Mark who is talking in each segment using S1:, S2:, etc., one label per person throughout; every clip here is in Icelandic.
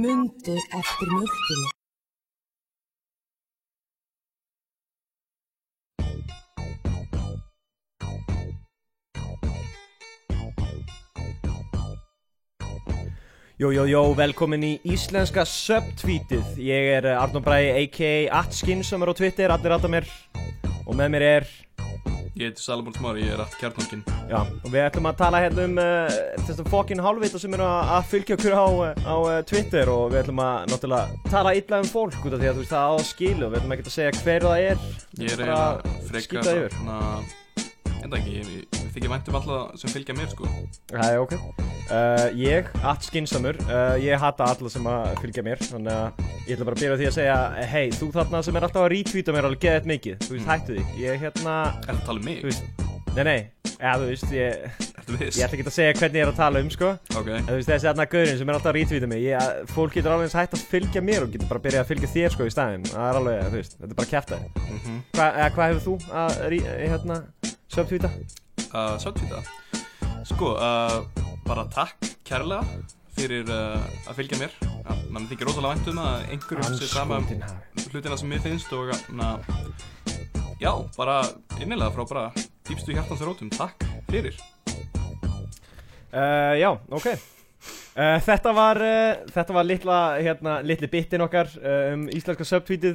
S1: Mundu eftir mjölkinu.
S2: Jó, jó, jó, velkomin í íslenska subtweetið Ég er eh, Arnór Bræði, a.k.a. Atskin sem er á Twitter, allir ráta mér Og með mér er,
S3: Ég heiti Salomón Smári, ég er allt kjarnangin
S2: já, og við ætlum að tala hérna um uh, Þessum fokkin hálfvita sem eru að að fylgja okkur á, eh, á uh, Twitter Og við ætlum að, náttúrulega, tala illa um fólk Út af því að þú veist það á skilu Við ætlum ekki að segja hver það er
S3: Ég er
S2: Bara
S3: eiginlega frekar
S2: skýta yfir.
S3: svona Enda ekki, ég, ég, ég þykir væntum alla sem fylgja mér sko
S2: Það er ok uh, Ég, atskinnsamur, uh, ég hata alla sem að fylgja mér Þannig að ég ætla bara að byrja á því að segja Hei, þú þarna sem er alltaf að retweeta mér alveg geðið mikið Þú veist, hættu því Ég hérna,
S3: Er það að tala um mig?
S2: þú veist, nei nei Já, þú veist, ég,
S3: Ertu viss?
S2: ég ætla ekki að segja hvernig ég er að tala um, sko
S3: Ok,
S2: En þú veist, þessi þarna gaurinn sem er alltaf að retweeta mig ég, Fólk getur alveg eins hægt að fylgja mér og getur bara að byrja að fylgja þér, sko, í staðinn Það er alveg, þú veist, þetta er bara að kæfta þér
S3: mhm mm
S2: Hvað hefur þú að, re- hérna, subtweeta?
S3: uh, Söndvíta Sko, uh, bara takk kærlega fyrir uh, að fylgja mér ja, Mér þykir rosalega vænt um að einhverjum sé sama um
S2: Andskotinn hafi.
S3: hlutina sem mér finnst og na, Já, bara innilega frá bara dýpstu hjartans rótum, takk fyrir
S2: Uh, já, ok uh, Þetta var, uh, þetta var litla, hérna, litli bittin okkar uh, um íslenska subtweetið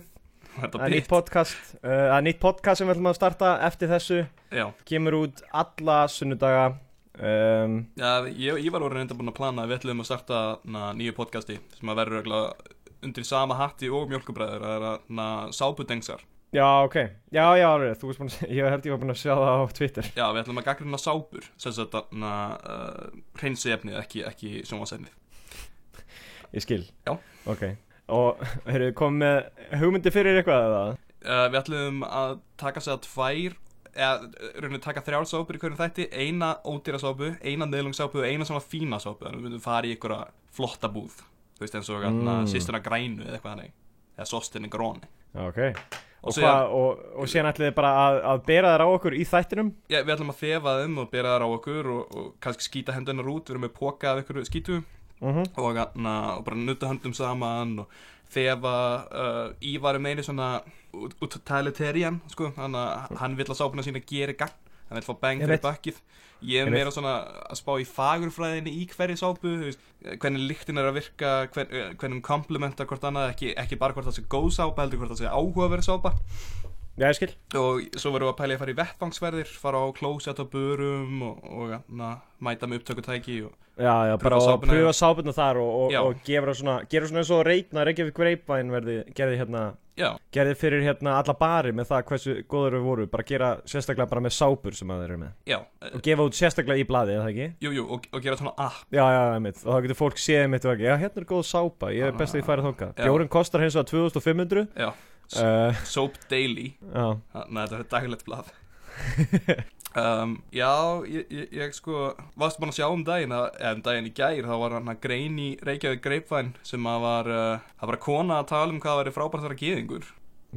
S3: Þetta
S2: Það er nýtt
S3: bit,
S2: podcast uh, Það er nýtt podcast sem við ætlum að starta eftir þessu
S3: já
S2: Kemur út alla sunnudaga um,
S3: Já, ég, ég var orðin enda búinn að plana að við ætlum að starta na, nýju podcasti sem að verður örugglega undir sama hatti og mjölkubræður það er að na, sápudengsar
S2: Já, ok Já, já, alveg, þú veist búin að se- Ég held ég var búin að sjá það á Twitter
S3: Já, við ætlum að gaggrina sápur sem sagt að na, uh, reynsi efnið, ekki, ekki sjónvansefnið
S2: Ég skil
S3: Já.
S2: Ok Og eru komið með hugmyndi fyrir eitthvað eða?
S3: uh, Við ætlum að taka sér að tvær eða rauninu taka þrjár sápur í hverjum þætti eina ódýra sápu, eina neðlungsápu og eina svona fína sápu þannig við myndum fara í einhverja flotta búð þú veist eins og mm.
S2: Mm.
S3: sýstina grænu eða eitthvað þannig eða sostinni gróni
S2: Já, Ok Og,
S3: Og
S2: og,
S3: síðan-
S2: hvað- og, og síðan ætlið þið bara að, að bera þær á okkur í þættinum
S3: Já, við ætlum að þefa þeim og bera þær á okkur og, og kannski skýta hendunar út, við erum með póka af ykkur skýtu
S2: Mhm
S3: og, na, og bara nutta höndum saman og þefa uh, Ívar er meiri svona ut- utilitarian, sko, hann, að- hann vill að sápuna sína gera gagn, hann vill fá bang fyrir
S2: Einmitt.
S3: bakkið ég er
S2: Einmitt.
S3: meira svona að spá í fagurfræðinni í hverju sápu, þú veist, hvernig lyktin er að virka, hvern, hvernig komplementar hvort annað, ekki, ekki bara hvort það sé góð sápa heldur hvort það sé áhugaverð sápa
S2: Já, ég skil
S3: og svo verðum við að pæla í að fara í vettvangsverðir fara á klósett og börum og, og na, mæta með upptökutæki og,
S2: Já, já, bara
S3: Pröfa
S2: að
S3: sápuna.
S2: pröfa sápuna þar og, og,
S3: Já.
S2: og gefa svona, gera svona eins og reitna Reykjavík Greipvæn verði, gerði hérna
S3: já,
S2: gerði fyrir hérna alla bari með það hversu góður við voru, bara gera sérstaklega bara með sápur sem að þeir eru með
S3: já eh,
S2: og gefa út sérstaklega í blaði, eða ekki?
S3: jú, jú, og, og gera svona app
S2: Já, já, einmitt, og þá getur fólk séð einmitt og ekki, já, hérna er góð sápa, ég er best að ég færi þóka
S3: Ah, Já.
S2: Bjórinn kostar hins og 2500
S3: já,
S2: uh,
S3: Soap Daily
S2: Já,
S3: þannig að þetta er daglegt blað um, já, ég, ég, ég sko varst búin að sjá um daginn að, eða um daginn í gær þá var hann að grein í Reykjavík Greipvæn sem að var, uh, það var kona að tala um hvað væri frábært að vera geðingur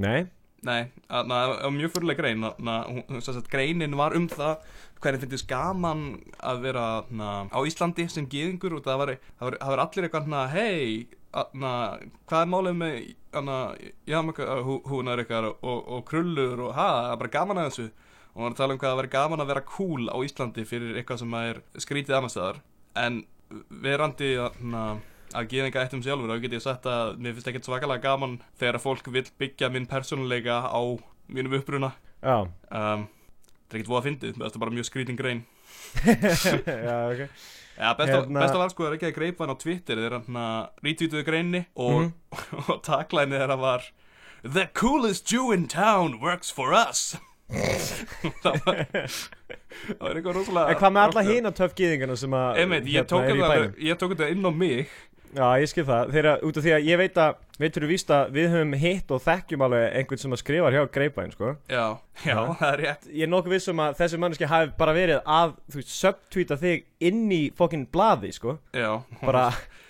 S2: nei,
S3: Nei, að- na, það var mjög fyrirlega grein að- na, hún- hún- sem sagt, greinin var um það hvernig finnst gaman að vera na, á Íslandi sem geðingur og það var, það var, það var allir eitthvað na, hei, na, hvað er málið með na, jamaka, hú, húnar ykkar og, og, og krullur og ha, það er bara gaman að þessu og hún var að tala um hvað það væri gaman að vera cool á Íslandi fyrir eitthvað sem er skrítið annars staðar en verandi na, að geðinga eitt um sjálfur þá get ég sagt að mér finnst ekkert svakalega gaman þegar að fólk vill byggja minn persónuleika á mínum uppruna
S2: já
S3: um, það er ekkert voða fyndið þetta er bara mjög skrítin grein
S2: Já, ok
S3: ja, besta,
S2: Hérna-
S3: besta var sko að ekki að greipa hann á Twitter þegar hann rítvítuðu greinni og,
S2: Mhm.
S3: og taklæni þeirra var The coolest Jew in town works for us það var það var eitthvað rosalega
S2: En hvað með alla hina töfgiðingarna sem að hérna
S3: Einmitt, ég tók
S2: eru
S3: hérna
S2: í
S3: þetta-
S2: bænum?
S3: ég tók þetta inn á mig
S2: Já, ég skil það, þeirra, út af því að ég veit að veit fyrir víst að við höfum hitt og þekkjum alveg einhvern sem að skrifar hjá Greipæn, sko
S3: Já, já,
S2: Já.
S3: það er rétt
S2: Ég er nokkuð vissum að þessi manneski hafi bara verið að, þú veist, subtweeta þig inn í fokkin blaði, sko
S3: Já,
S2: Bara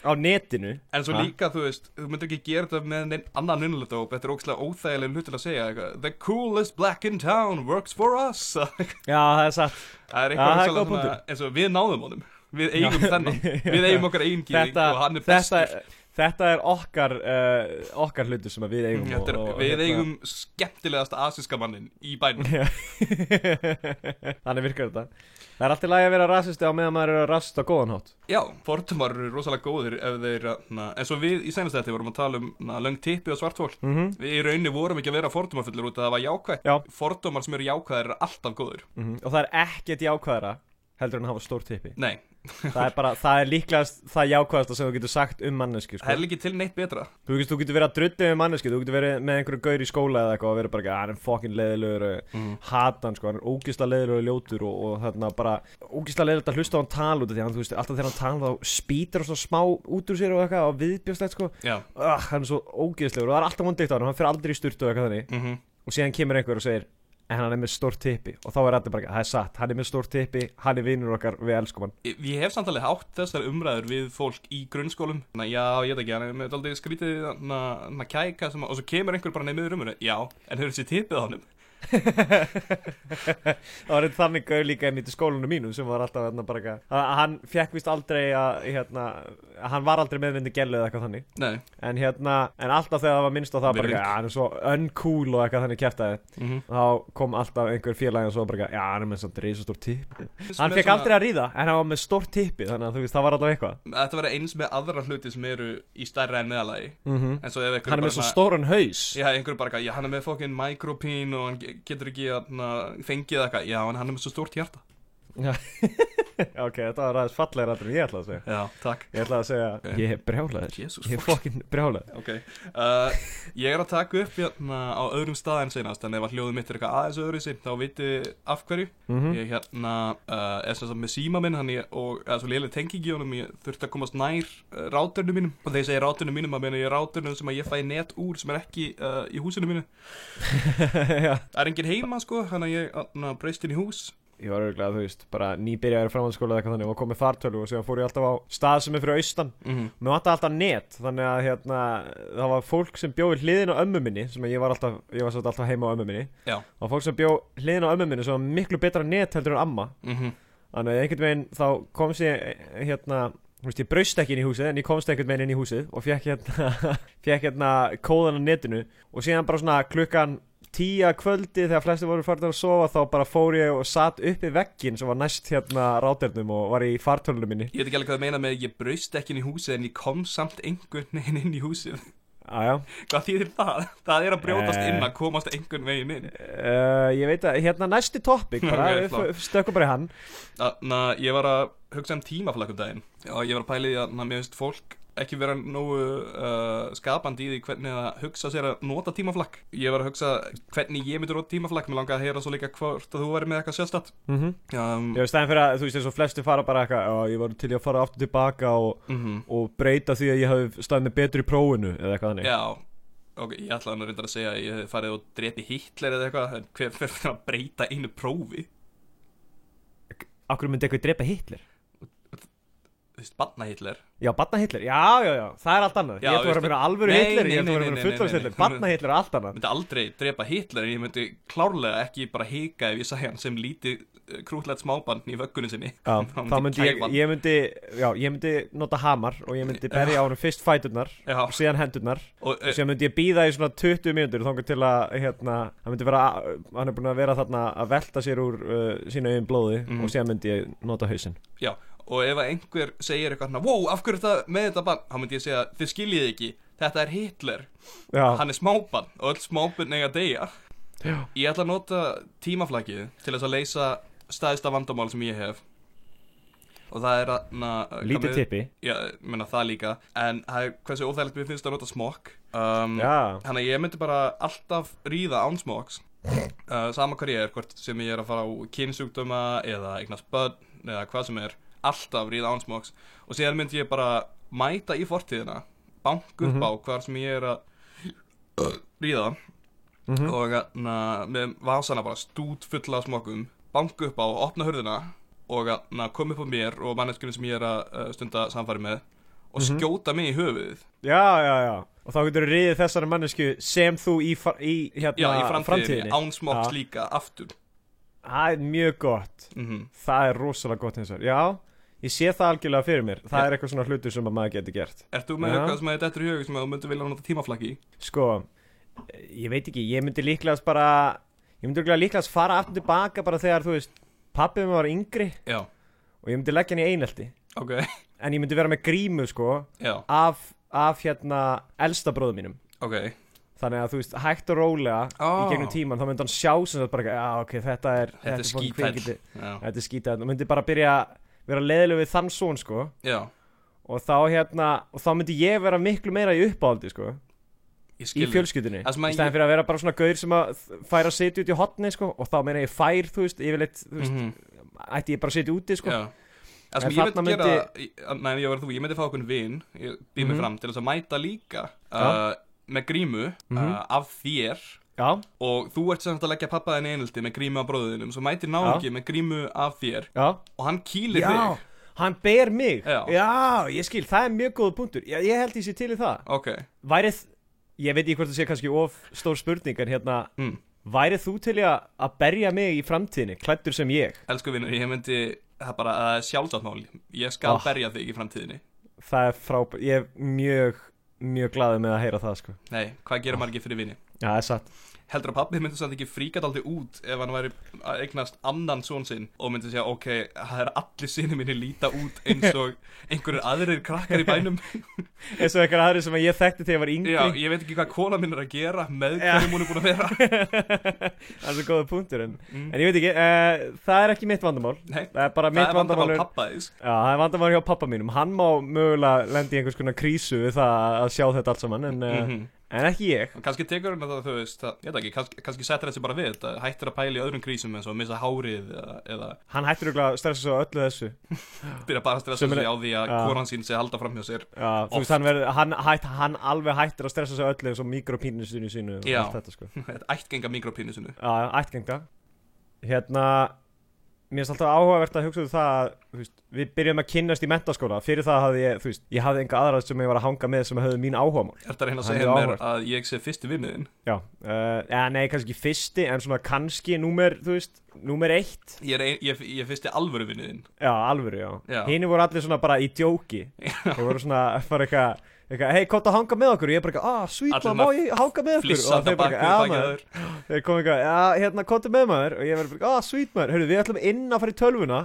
S2: á netinu
S3: En svo
S2: Ha?
S3: líka, þú veist, þú myndir ekki gera þetta með neinn annan innlöðdóp, þetta er ógæslega óþægileg hlut til að segja eitthvað The coolest black in town works for us Það
S2: Já, það er satt Já, það er
S3: er eitthvað rosalega
S2: góð
S3: svona,
S2: punktur.
S3: eins og við náðum honum Við eigum þennan, við eigum okkar eigin gýring
S2: þetta,
S3: og hann er
S2: þetta,
S3: bestur
S2: þetta er okkar, uh, okkar hlutur sem að við eigum
S3: Mm, Þetta er,
S2: og, og,
S3: Við
S2: hérna-
S3: eigum skemmtilegasta asíska mannin í bænum
S2: Já. Þannig virkar þetta Það er alltaf lægi að vera rasisti á meðan maður er að rasist á góðan hátt
S3: Já, fordumar eru rosalega góðir ef þeir, na, en svo við í senast þetta vorum að tala um na, löng tippi og svartfól
S2: mm -hmm.
S3: Við í rauninni vorum ekki að vera fordumafullir út að það var jákvætt
S2: Já.
S3: Fordumar sem eru jákvæðir eru alltaf góðir
S2: Mhm. Og það er ekkert jákvæðara heldur en að hafa stór tippi
S3: Nei,
S2: Það er bara, það er líklegast það jákvæðasta sem þú getur sagt um mannesku
S3: það er
S2: sko.
S3: líki til neitt betra
S2: Þú veist, þú getur verið að drullið með mannesku Þú getur verið með einhverju gaur í skóla eða eitthvað og verið bara, "Ah, hann er fokkin leðilegur mm. Hatan, sko, hann er ógisla leðilegur ljótur og, og þarna bara, ógisla leðilegt að hlusta á hann tala út af Því að hann, þú veist, alltaf þegar hann tala þá spýtir hann svo smá út úr sér og eitthvað og viðbjóðslegt, sko
S3: Já,
S2: uh, hann er svo ógeðslegur og það er alltaf vondið á hann, hann fyrir aldrei í styrtu og eitthvað þannig
S3: mhm
S2: og síðan kemur einhver og segir en hann er með stór tippi og þá er allir bara, það er satt, hann er með stór tippi hann er vinnur okkar, við elskum hann
S3: Ég ég hef samtalið hátt þessar umræður við fólk í grunnskólum Þannig að já, ég veit ekki, hann er með aldrei skrítið að kæka sem, að- og svo kemur einhver bara nefnir umræður Já, en hefur þessi tippið á honum
S2: það var einn þannig gauð líka einmitt í skólanu mínu sem var alltaf hérna, bara eitthvað, að- að hann fekk vist aldrei að, hérna, að hann var aldrei meðvindu gellu eða eitthvað þannig
S3: Nei,
S2: en hérna, en alltaf þegar það var minnst á það bara
S3: Virðing.
S2: eitthvað, "Já, hann er svo uncool og eitthvað þannig kæftæði
S3: mm -hmm.
S2: þá kom alltaf einhver félagi og svo bara eitthvað, já, hann er með samt reisastór tippi hann fekk aldrei að ríða, en hann var með stór tippi þannig að þú veist, það var alltaf eitthvað
S3: Þetta verður eins með aðra hluti sem eru í stærra en meðalagi
S2: Mhm.
S3: En svo ef einhver
S2: hann er
S3: bara
S2: með svo
S3: svona-
S2: stóran haus
S3: Já, einhver bara, eitthvað, já, hann er með fokkin micropín og hann ge- getur ekki að fengið eitthvað Já, en hann er með svo stórt hjarta
S2: ok, þetta var aðeins fallegra heldur en ég ætlaði að segja
S3: Já, takk
S2: ég ætlaði að segja, ég er brjálaður
S3: Jesus
S2: ég er fokkin brjálaður
S3: Ok, uh, ég er að taka upp hérna á öðrum stað en senast en ef að hljóðum mitt er eitthvað aðeins öðru sinn þá viti af hverju
S2: Mhm.
S3: Ég hérna uh, er sem sagt með síma minn hann ég, og eða svo lélega tenging í honum ég þurfti að komast nær uh, ráturnu mínum og þegar ég segi ráturnu mínum að meina ég ráturnu sem að ég fæ net úr sem er ekki uh, í húsinu mínu
S2: Já.
S3: Það er enginn heima sko, hann að ég hérna, breyst inn í hús
S2: ég var örgulega, þú veist, bara nýbyrjaður framhaldsskóla eða eitthvað þannig og kom með fartölu og síðan fór ég alltaf á stað sem er fyrir austan
S3: mm
S2: mér vantaði alltaf net, þannig að hérna, það var fólk sem bjóði hliðin á ömmu minni sem að ég var alltaf, ég var svolítið alltaf heima á ömmu minni
S3: Já.
S2: og fólk sem bjóði hliðin á ömmu minni sem var miklu betra net heldur en amma
S3: -hmm.
S2: Þannig að einhvern veginn þá komst ég eh, hérna, þú veist ég braust ekki inn í húsið en ég komst einhvern veginn inn í húsið og fekk hérna, fekk hérna kóðan á netinu og síðan bara svona klukkan tíja kvöldi þegar flestir voru farin að sofa þá bara fór ég og satt upp í veggin sem var næst hérna ráternum og var í fartölunum minni.
S3: Ég veit ekki alveg hvað það meina með ég breyst ekki inn í húsið en ég kom samt einhvern veginn inn í húsið
S2: Aja.
S3: Hvað þýðir það? Það er að brjótast
S2: Eh.
S3: inn að komast einhvern veginn inn
S2: Uh, ég veit að hérna næsti topic bara,
S3: Ok,
S2: við
S3: flott.
S2: f- stökkum bara í hann.
S3: Þannig að ég var að hugsa um tímaflakk um daginn og ég var að pæla í því að na, mér finnst fólk ekki vera nógu uh, skapandi í því hvernig að hugsa sér að nota tímaflakk Ég var að hugsa hvernig ég myndi nota tímaflakk Mér langaði að heyra svo líka hvort að þú væri með eitthvað sjálfstætt
S2: Mm
S3: um,
S2: Ég veist það fyrir að þú veist eins og flestir fara bara eitthvað, "Já, ég var til í að fara aftur tilbaka og,
S3: mhm.
S2: og breyta því að ég hafi staðið með betur í prófinu eða eitthvað þannig.
S3: Já, ok, ég ætlaði nú reyndar að segja að ég hefði farið og drepi Hitler eða eitthvað En hver fyrir að breyta einu prófi?
S2: Akkur myndi eitthvað drepa Hitler?
S3: Þú veist, banna Hitler
S2: Já, batna Hitler, já, já, já, það er allt annað
S3: Já,
S2: Ég ætla að vera
S3: veistu-
S2: að vera alvöru
S3: Nei,
S2: Hitler,
S3: nei,
S2: ég ætla að vera að vera
S3: nei, nei,
S2: fullorðs
S3: nei, nei,
S2: Hitler
S3: nei.
S2: Batna Hitler er allt
S3: Ég
S2: annað
S3: myndi aldrei drepa Hitler en ég myndi klárlega ekki bara hika ef ég sagði hann sem lítið krútlegt smáband í vöggunni sinni
S2: Já,
S3: Hann
S2: þá myndi ég,
S3: kæfa hann.
S2: ég myndi, já, ég myndi nota hamar og ég myndi berja á hann fyrst fæturnar
S3: Já,
S2: og síðan hendurnar
S3: og
S2: og
S3: uh,
S2: síðan myndi ég býða í svona 20 mínútur þangað til að, hérna, hann myndi vera, hann er búin að vera þarna að velta sér úr uh, sína eigin blóði
S3: Mhm.
S2: og síðan myndi ég nota hausinn
S3: já, og ef að einhver segir eitthvað hérna, wow, af hverju er það með þetta bann, þá myndi ég segja, þið skiljið ekki, þetta er Hitler,
S2: Já,
S3: hann er smábann og öll smábann eiga að deyja.
S2: já,
S3: Ég ætla að nota tímaflakið til þess að leysa staðista vandamál sem ég hef og það er eh, að... Na,
S2: lítið tippi
S3: Já, ég meina það líka, en það er hversu óþægilegt mér finnst að nota smokk. Um,
S2: Já,
S3: Þannig að ég myndi bara alltaf ríða án smóks uh, sama hvað ég er, hvort sem ég er að fara á kynsjúkdöma eða eignast börn eða hvað sem er, alltaf ríða án smóks og síðan myndi ég bara mæta í fortíðina, banka upp á hvar sem ég er að ríða og na, með vasana bara stút fulla af smokum, banka upp á, opna hurðina og na, koma upp á mér og manneskunum sem ég er að uh, stunda samfari með og
S2: Mhm.
S3: skjóta mig í höfuðið
S2: Já, já, já Og þá getur þú riðið þessari mannesku sem þú í, fa- í, hérna,
S3: Já, í framtíðinni,
S2: framtíðinni.
S3: án smokks
S2: Já.
S3: líka, aftur
S2: Það er mjög gott
S3: mm
S2: Það er rosalega gott hins vegar Já, ég sé það algjörlega fyrir mér Það
S3: Já.
S2: er eitthvað svona hlutur sem að maður getur gert
S3: Ert þú með
S2: Já.
S3: eitthvað sem að þetta er í hug sem að þú myndir vilja nota tímaflakki í?
S2: Sko, ég veit ekki Ég myndi líklegast bara Ég myndi örugglega líklegast fara aftur tilbaka bara þegar, þú veist Pappið mér var yngri
S3: Já,
S2: og ég myndi leggja hann í einelti
S3: ok,
S2: En ég myndi vera með grímu, sko
S3: já,
S2: Af, af hérna, elsta bróðum mínum
S3: ok
S2: Þannig að þú veist, hægt og rólega
S3: Ó.
S2: í gegnum tíman, þá myndi hann sjá sem þetta bara, já ok, þetta er
S3: Þetta er
S2: fucking
S3: skítæll
S2: kvikindi-
S3: Já,
S2: Þetta er skítæll, og myndi bara byrja að vera leiðileg við þann són, sko
S3: já,
S2: og þá hérna, og þá myndi ég vera miklu meira í uppáhaldi, sko
S3: ég
S2: í
S3: skil
S2: fjölskyldunni,
S3: Það sem að
S2: í stæðan
S3: ég-
S2: fyrir að vera bara svona gaur sem að fær að sitja út í hotni, sko og þá meina ég fær, þú veist, yfirleitt þú veist,
S3: Mhm,
S2: ætti ég bara að sitja úti, sko
S3: Já Það sem
S2: En
S3: ég myndi
S2: þarna
S3: gera,
S2: myndi-
S3: myndi... næ, ég var þú, ég myndi fá okkur vin Ég býð mig
S2: Mhm.
S3: fram til þess að mæta líka uh,
S2: Já.
S3: Með grímu uh,
S2: Mhm.
S3: af þér
S2: Já,
S3: Og þú ert sem sagt að leggja pappaðin einhaldi með grímu af bróðinum Svo mætir náungi með grímu af þér
S2: já,
S3: Og hann kýlir
S2: já
S3: þig
S2: Hann ber mig,
S3: Já.
S2: ég skil, það er mjög góð punktur Ég, ég held ég sé til í það
S3: Ok,
S2: værið, ég veit ekki hvort það sé kannski of stór spurning en hérna,
S3: mm.
S2: værið þú til í að, að berja mig í framtíðinni, klættur sem ég
S3: Elsku vinnur, ég myndi, það er bara uh, sjálfsátmál, ég skal
S2: Ah.
S3: berja þig í framtíðinni.
S2: það er frábært, ég er mjög mjög glaðið með að heyra það sko
S3: Nei, hvað gerir maður ekki fyrir vinni?
S2: Já, það er satt
S3: Heldur að pappi myndi samt ekki fríkat aldrei út ef hann væri að eignast annan són sinn og myndi segja, ok, það er allir sinni minni líta út eins og einhverjir aðrir krakkar í bænum.
S2: eins og einhver aðri sem ég þekkti þegar ég var yngri
S3: Já, ég veit ekki hvað kona minn er að gera, með hverjum hún er búin að vera.
S2: það er svo góða punktur en, en ég veit ekki, uh, það er ekki mitt vandamál
S3: Nei,
S2: það er bara
S3: Mm. það
S2: mitt
S3: er vandamál
S2: vandamál er-
S3: pappa þess.
S2: Já, það er vandamál hjá pappa mínum, hann má mögulega lendi í einhvers konar krísu við það að sjá þetta allt saman en, uh,
S3: Mhm.
S2: en ekki ég
S3: Og kannski tekur hann þetta, þú veist, það, ég veit ekki, kannski, kannski settir þessi bara við, það hættir að pæla í öðrum krísum eins og missa hárið eða, eða
S2: Hann hættur örugglega að stressa svo öllu þessu
S3: byrja bara að stressa
S2: Sem er-
S3: sig á því að
S2: Já.
S3: konan sín sé að halda fram hjá sér
S2: Já, þú
S3: Oft.
S2: veist, hann, verið, hann, hætt, hann alveg hættir að stressa sig öllu eins og mikropínusinu sínu og
S3: Já.
S2: allt þetta sko.
S3: Þetta ættgenga mikropínu sinu
S2: Já, ættgengda. Hérna, mér finnst alltaf áhugavert að hugsa um það að, þú veist, við byrjum að kynnast í mentaskóla. Fyrir það hafði ég, þú veist, ég hafði enga aðrað sem ég var að hanga með sem höfðu mín áhugamál.
S3: Þetta er hérna að
S2: Hann er
S3: segja mér
S2: áhugavert.
S3: að ég sé fyrsti vinniðin
S2: Já, uh, eða nei, kannski ekki fyrsti, en svona kannski númer, þú veist, númer eitt.
S3: Ég er, ein, ég, ég er fyrsti alvöru vinniðin
S2: Já, alvöru, já.
S3: Já.
S2: Hini voru allir svona bara í djóki. Þeir voru svona, fara eitthvað, eitthvað, hei, komdu að hanga með okkur. Ég er bara eitthvað, ah,
S3: Allir
S2: sweet,
S3: svona
S2: má ég hanga með okkur?
S3: Flissa þetta bakið
S2: "Já,
S3: bakið
S2: maður."
S3: aður
S2: Þeir komið eitthvað, já, hérna, kontu með maður Og ég verður bara, ah, sweet maður, hörru, við ætlum inn að fara í tölvuna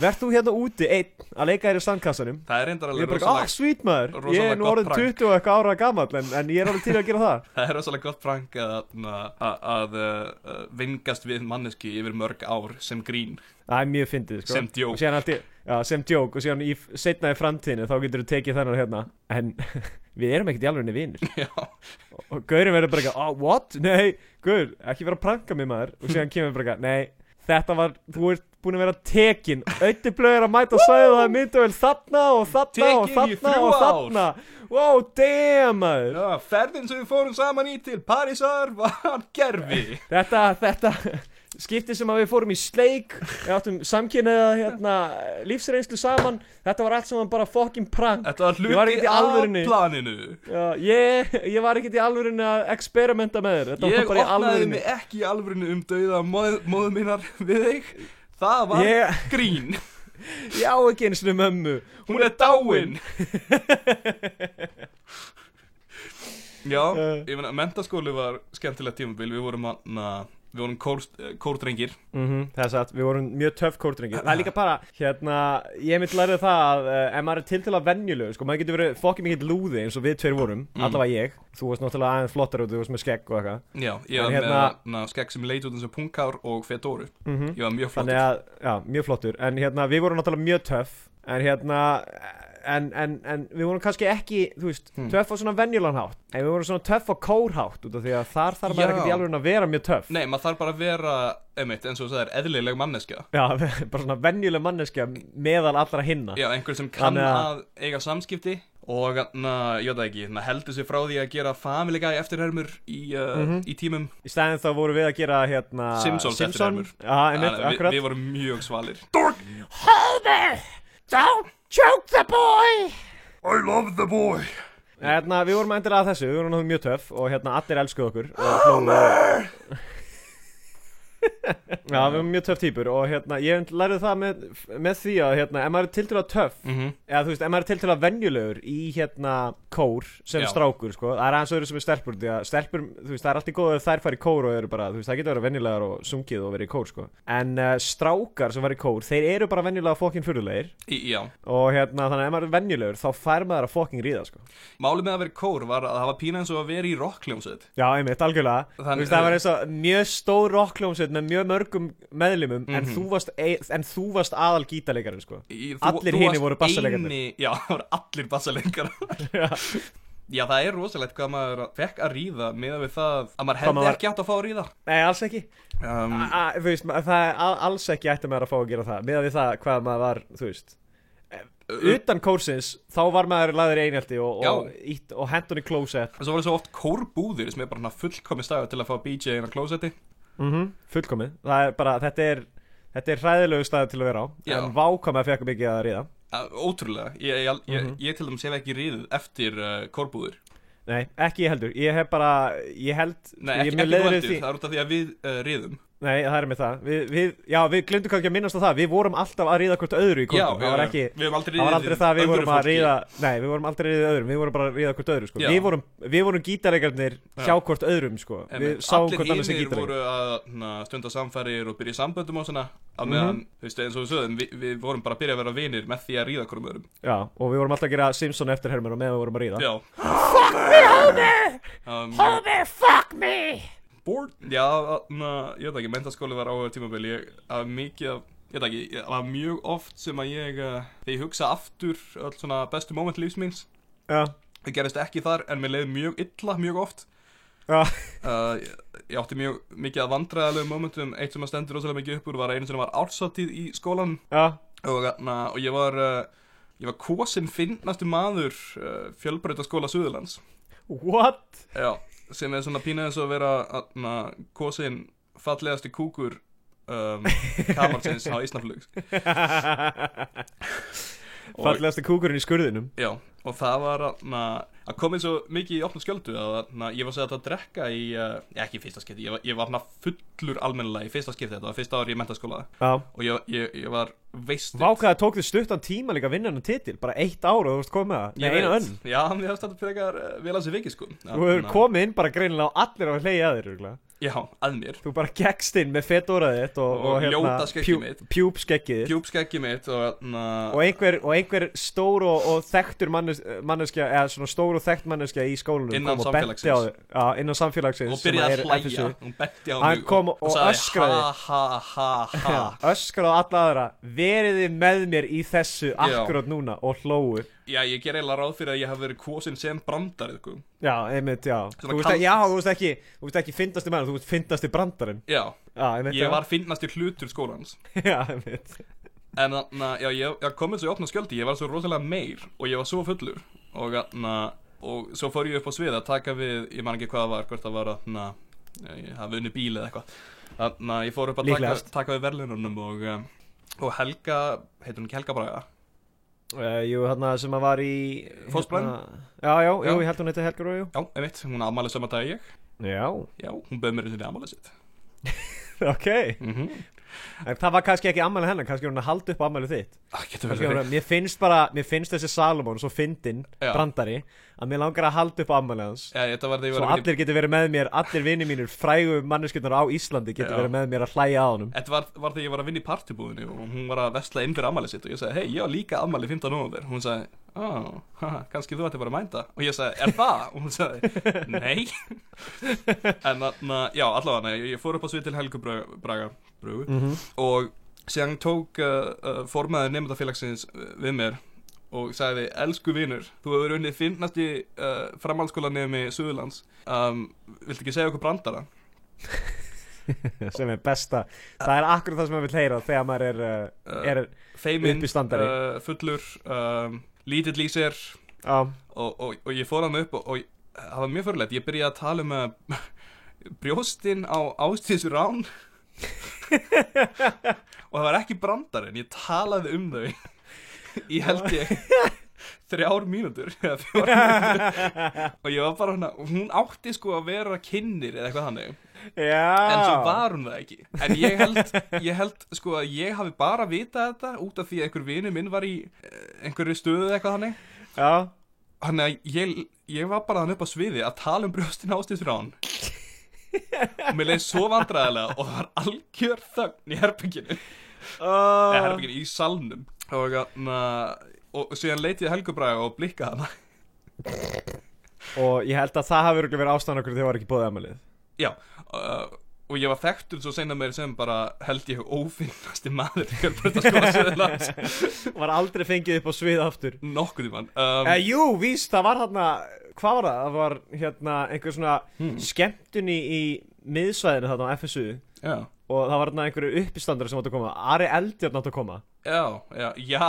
S2: Verð þú hérna úti, einn, að leika þér í sandkassanum
S3: Mhm. Það er reyndar
S2: Ég er
S3: alveg
S2: bara, eitthvað, ah,
S3: rosalega
S2: sweet maður Ég
S3: rosalega
S2: er nú
S3: gott
S2: orðin
S3: prank.
S2: 20 og eitthvað ára gamall en, en ég er alveg til að gera það
S3: Það er rosalega gott prank að, að, að, að uh, vingast við manneski yfir mörg ár sem grín
S2: Það er mjög fyndið, sko
S3: Sem djók.
S2: Og síðan allt í- Já, sem djók og síðan í, setna í framtíðinu þá getur þú tekið þennan hérna En við erum ekkert í alvegni vinir
S3: Já,
S2: Og, og Gaurin verður bara, eitthvað, ah, what? Nei, Gaur, ekki vera að pranka mig maður Og síðan kemur bara, eitthvað, nei, þetta var, þú ert búin að vera tekin Auðvitað er að mæta svæðið það er myndavel þarna og þarna og
S3: Tekin
S2: þarna
S3: í þrjú
S2: og
S3: ár.
S2: þarna Wow, damn maður
S3: Já ferðin sem við fórum saman í til Parísar var gerfi
S2: Þetta, þetta skipti sem að við fórum í sleik Við áttum samkynniða hérna, lífsreynslu saman Þetta var allt saman bara fucking prank
S3: Þetta var
S2: Ég var
S3: hluti
S2: ekkert í alvörunni.
S3: af planinu
S2: Já, ég, ég var ekkert í alvörinu að experimenta með þér Þetta
S3: Ég
S2: var bara í
S3: opnaði
S2: alvörinu
S3: mig ekki í alvörinu um dauða móð, móðu mínar við þig Það var
S2: Ég,
S3: grín
S2: ég á ekki einu sinni mömmu
S3: Hún er dáin Já,
S2: Eh.
S3: ég meina, mentaskóli var skemmtilegt tímabil Við vorum að, na, við vorum kór, kórdrengir
S2: Mm Það er satt, við vorum mjög töff kórtringi Það er líka bara, hérna, ég mitt lærið það að uh, ef maður er til til að venjulegu, sko, maður getur verið fokkið mikið lúði eins og við tveir vorum,
S3: Mm.
S2: allavega ég Þú varst náttúrulega aðeins flottar og þú varst með skegg og eitthvað
S3: Já, ég
S2: En
S3: var
S2: hérna-
S3: með na, skegg sem leit út eins og punkár og fedóru
S2: Mhm.
S3: Ég var mjög flott
S2: Þannig að, já, mjög flottur En hérna, við vorum náttúrulega mjög töff En hérna, en, en, en við vorum kannski ekki þú veist,
S3: Hmm.
S2: töff á svona venjulan hátt en við vorum svona töff á kórhátt út af því að þar þarf maður
S3: Já.
S2: ekkert í alveg að vera mjög töff
S3: Nei, maður þarf bara að vera, einmitt, eins og þú sagðir, eðlileg manneskja.
S2: já, bara svona venjuleg manneskja meðal allra hinna
S3: Já, einhver sem kann
S2: Þannig að-
S3: að eiga samskipti og, na, ég veit það ekki, na, heldur sig frá því að gera Family Guy eftirhermur í, uh,
S2: Mhm.
S3: í tímum.
S2: í stæðin þá vorum við að gera hérna
S3: Simpsons
S2: Simpson.
S3: eftirhermur.
S2: já, einmitt,
S3: Þannig að við,
S2: akkurat
S3: við vorum mjög svalir.
S2: don't choke the boy
S3: I love the boy.
S2: Hérna, við vorum endur að þessu, við vorum náttúrulega mjög töff og hérna, allir elskuðu okkur og hlóðu Já, við vorum mjög töff týpur og hérna, ég lærði það með, með því að hérna, ef maður er tiltölulega töff
S3: Mm
S2: eða þú veist, ef maður er tiltölulega venjulegur í hérna kór sem
S3: Já.
S2: strákur, sko það er aðeins öðru sem er stelpur, því að stelpur þú veist, það er allt í góðu ef þær fara í kór og eru bara þú veist, það getur að vera venjulegar og sungið og verið í kór, sko en uh, strákar sem fara í kór, þeir eru bara venjulega fokkin fyrirlegir
S3: Í, já.
S2: og hérna, þannig að ef maður er venjulegur þá fær maður að fokkin ríða, sko
S3: Málið með að vera í kór var að það var pína eins og að vera í rockljómsveit.
S2: Já, einmitt, algjörlega
S3: Þann-
S2: Þú veist, það var eins og mjög stór rockljómsveit með mjög mörgum meðlimum en,
S3: Mhm.
S2: þú varst, ei- en þú varst aðal gítarleikarinn, sko
S3: Í-
S2: Allir
S3: þú
S2: hinir
S3: varst
S2: voru bassalekarnir.
S3: eini- Já, það voru allir bassaleikar Já, það er rosalegt hvað maður fekk að ríða miðað við það að maður hefði
S2: maður Ah, var-
S3: ekki átt að fá að ríða
S2: Nei, alls ekki
S3: um,
S2: a, a, Þú veist, ma- það er a- alls ekki ætti maður að fá að gera það Meðan við það hvað maður var, þú veist Utan kórsins, þá var maður laður einhaldi og, og,
S3: Uh, Já.
S2: ítt, og hendun í klósett
S3: Svo var það svo oft kórbúðir sem er bara fullkomi stagur til að fá BJ inn á klósetti
S2: mm Fullkomið, það er bara, þetta er Þetta er hræðilegu staður til að vera á
S3: Já.
S2: En vákama fekk mikið að ríða
S3: Uh, Ótrúlega, ég, ég, ég,
S2: Mhm.
S3: ég til dæmis hef ekki ríðið eftir uh, kórbúðir
S2: Nei, ekki ég heldur, ég hef bara, ég held
S3: Nei,
S2: ég er
S3: ekki,
S2: mjög
S3: ekki
S2: leiður
S3: þú
S2: yfir
S3: endur, það er út af því að við uh, ríðum
S2: Nei, það er með það við, við, Já, við glemdum kannski að minnast á það Við vorum alltaf að ríða hvort öðru í
S3: Já,
S2: kókum Það var
S3: já,
S2: ekki
S3: já. Við höfum
S2: Það
S3: aldrei
S2: var
S3: ríðið
S2: aldrei
S3: við
S2: það að við
S3: öðru
S2: vorum að
S3: fólki.
S2: ríða Nei, við vorum aldrei að ríða öðrum Við vorum bara að ríða hvort öðru sko.
S3: Já.
S2: Við vorum, við vorum gítarreikarnir hjá
S3: Já.
S2: hvort öðrum sko. Við
S3: Einmitt.
S2: sáum
S3: Allir
S2: hvort annars sem
S3: hinir
S2: gítarreikar
S3: voru að na, stunda samfærir og byrja í samböndum og svona á meðan,
S2: Mhm.
S3: þú veist, eins og við sögðum við, við vorum bara að byrja að vera vinir með því að ríða hverjum öðrum
S2: Já, og við vorum alltaf að gera Simpson eftirhermur og meðan við vorum að ríða
S3: Já Fuck me, homie!
S1: Homie, fuck me!
S3: Bored Já, na, ég veit ekki, mentaskóli var áhuga tímabil Ég að mikið af, ég veit ekki, það var mjög oft sem að ég eh, Þegar ég hugsa aftur öll svona bestu moment lífs míns
S2: Já,
S3: Það gerist ekki þar, en mér leiði mjög illa mjög oft
S2: já,
S3: Uh, ég, ég átti mjög mikið að vandræðalegum momentum Eitt sem að stendur rosalega mikið upp úr var einu sem var ársáttíð í skólan
S2: já,
S3: og, na, og ég var uh, ég var kosin finnastu maður uh, fjölbreytaskóla Suðurlands
S2: what?
S3: já, sem er svona pínaðið svo að vera að, na, kosin fallegasti kúkur um, kamarsins á Íslandflugs og,
S2: Fallegasti kúkurinn í skurðinum
S3: já, og það var að, na, að komið svo mikið í opnum skjöldu að na, ég var segið að drekka í uh, ekki í fyrsta skipti, ég var, ég var na, fullur almennilega í fyrsta skipti þetta var fyrsta ári í mentaskóla
S2: Já
S3: og ég, ég, ég var veist
S2: Vákaði tók þið stuttan tíma líka að vinna hann titil Bara eitt ár og þú vorst komið með það
S3: Ég
S2: Nei, eina
S3: veit.
S2: önn
S3: Já, mér hafði þetta frekar uh, vel að sér vikið sko
S2: Þú hefur komið inn bara greinilega á allir á að hleyja að þér örugglega.
S3: Já, að mér
S2: Þú bara gekkst inn með fedóraðið þitt og, hérna,
S3: Og ljóta skeggið mitt.
S2: pjúpskeggið þitt
S3: Djúpskeggi mitt og na,
S2: og einhver, og einhver stór og, og þekktur mannes, eh, manneskja eða svona stór og þekkt manneskja í skólunum
S3: Innan
S2: kom og benti
S3: samfélagsins.
S2: á þig- Já, innan samfélagsins
S3: og byrjaði
S2: sem
S3: að
S2: er
S3: hlæja
S2: FSU.
S3: Hún benti á mig
S2: Hann kom og
S3: sagði,
S2: öskraði.
S3: Ha, ha, ha, ha
S2: öskar á alla aðra veriði með mér í þessu akkurát núna og hlóu
S3: Já, ég ger eiginlega ráð fyrir að ég hafi verið kosin sem brandar sko.
S2: já, einmitt, já
S3: Svona
S2: þú veist,
S3: kalt-
S2: ekki, já, þú veist ekki þú veist ekki fyndasti mann, þú veist fyndasti brandarinn
S3: Já,
S2: já, einmitt, já.
S3: ég var finnast í hlutur skólans
S2: já, einmitt
S3: En þannig að já, ég, ég komið svo í opna skjöldi, ég var svo rosalega meir og ég var svo fullur og þannig og svo fór ég upp á svið að taka við, ég man ekki hvað það var, hvort það var að na, ég hafi unni bíl eða eitthvað þannig að ég fór upp að taka,
S2: Líklegast.
S3: taka við verðlunum og, um, og Helga, heitir hún ekki Helga Braga?
S2: Uh, jú, hérna sem að var í
S3: Fóstbræðrum?
S2: hérna- Já, já, jú,
S3: Já.
S2: ég held hún heiti Helga Rójú
S3: Já, einmitt, hún afmælið saman dag ég,
S2: Já,
S3: já, hún bauð mér eins og niður afmælið sitt
S2: ok
S3: mm
S2: Mhm. en Það var kannski ekki ammæli hennar, kannski var hún að halda upp ammæli þitt
S3: Það Ah, getur
S2: Kannski
S3: verið
S2: var hún að, mér finnst bara, mér finnst þessi Salomon svo fyndinn,
S3: Já.
S2: brandari Að mér langar að halda upp ammæli hans
S3: Já, þetta var þegar ég
S2: Svo
S3: var að vinna í-
S2: allir getur verið með mér, allir vinir mínir, frægu manneskjöndar á Íslandi getur
S3: Já.
S2: verið með mér að hlæja á honum
S3: Þetta var, var þegar ég var að vinna í partybúðinu og hún var að vesla inn fyrir ammælið sitt og ég sagði, hei, ég á líka ammæli 15 november. Hún sagði, ó, haha, kannski þú ætti bara að mænda. Og ég sagði, er það? Og hún sagði, nei. en þarna, já, allavega, ég, ég fór upp á svið til Helgu Braga, Braga Brugu, og síðan tók uh, uh, formaður nefndafélagsins uh, við mér og sagði Elsku vinur, þú hefur unnið finnasti uh, framhaldsskólanemi Suðurlands um, Viltu ekki segja okkur brandara?
S2: sem er besta það er akkurat það sem maður vil heyra þegar maður er, uh, er
S3: Feiminn,
S2: Uppistandari.
S3: uh, fullur, um, lítill í sér
S2: á,
S3: og, og, og ég fór hann upp og, og það var mjög fyrirlegt, ég byrjaði að tala um uh, brjóstin á ástíðsrán og það var ekki brandarinn, ég talaði um þau í held ég þrjár mínútur eða fjórar mínútur og ég var bara hana, hún átti sko að vera kynir eða eitthvað þannig
S2: já
S3: en svo var hún það ekki en ég held, ég held sko að ég hafi bara vitað þetta út af því að einhver vinu minn var í eh, einhverju stöðu eða eitthvað þannig
S2: já,
S3: Þannig að ég, ég var bara hann upp á sviði að tala um brjóstin ástíðsrán og mér leiði svo vandræðilega og það var algjör þögn í herbygginu eða
S2: oh,
S3: herbygginu í salnum og, na, og síðan leiti ég helgubræði og blikka hana
S2: og ég held að það hafi örugglega verið ástæðan okkur þegar það var ekki bóðið aðmalið
S3: já uh, og ég var þekktur svo seinna meir sem bara held ég ófinnasti maður í Fjölbrautaskóla
S2: var aldrei fengið upp á svið aftur
S3: nokkuð í mann um,
S2: Eh, jú, víst, það var hérna, hvað var það? Það var hérna einhver svona
S3: Hmm.
S2: skemmtun í, í miðsvæðinu þarna á FSU
S3: já,
S2: og það var hérna einhverju uppistandur sem átt að koma, Ari Eldjörn átt að koma.
S3: já, já, já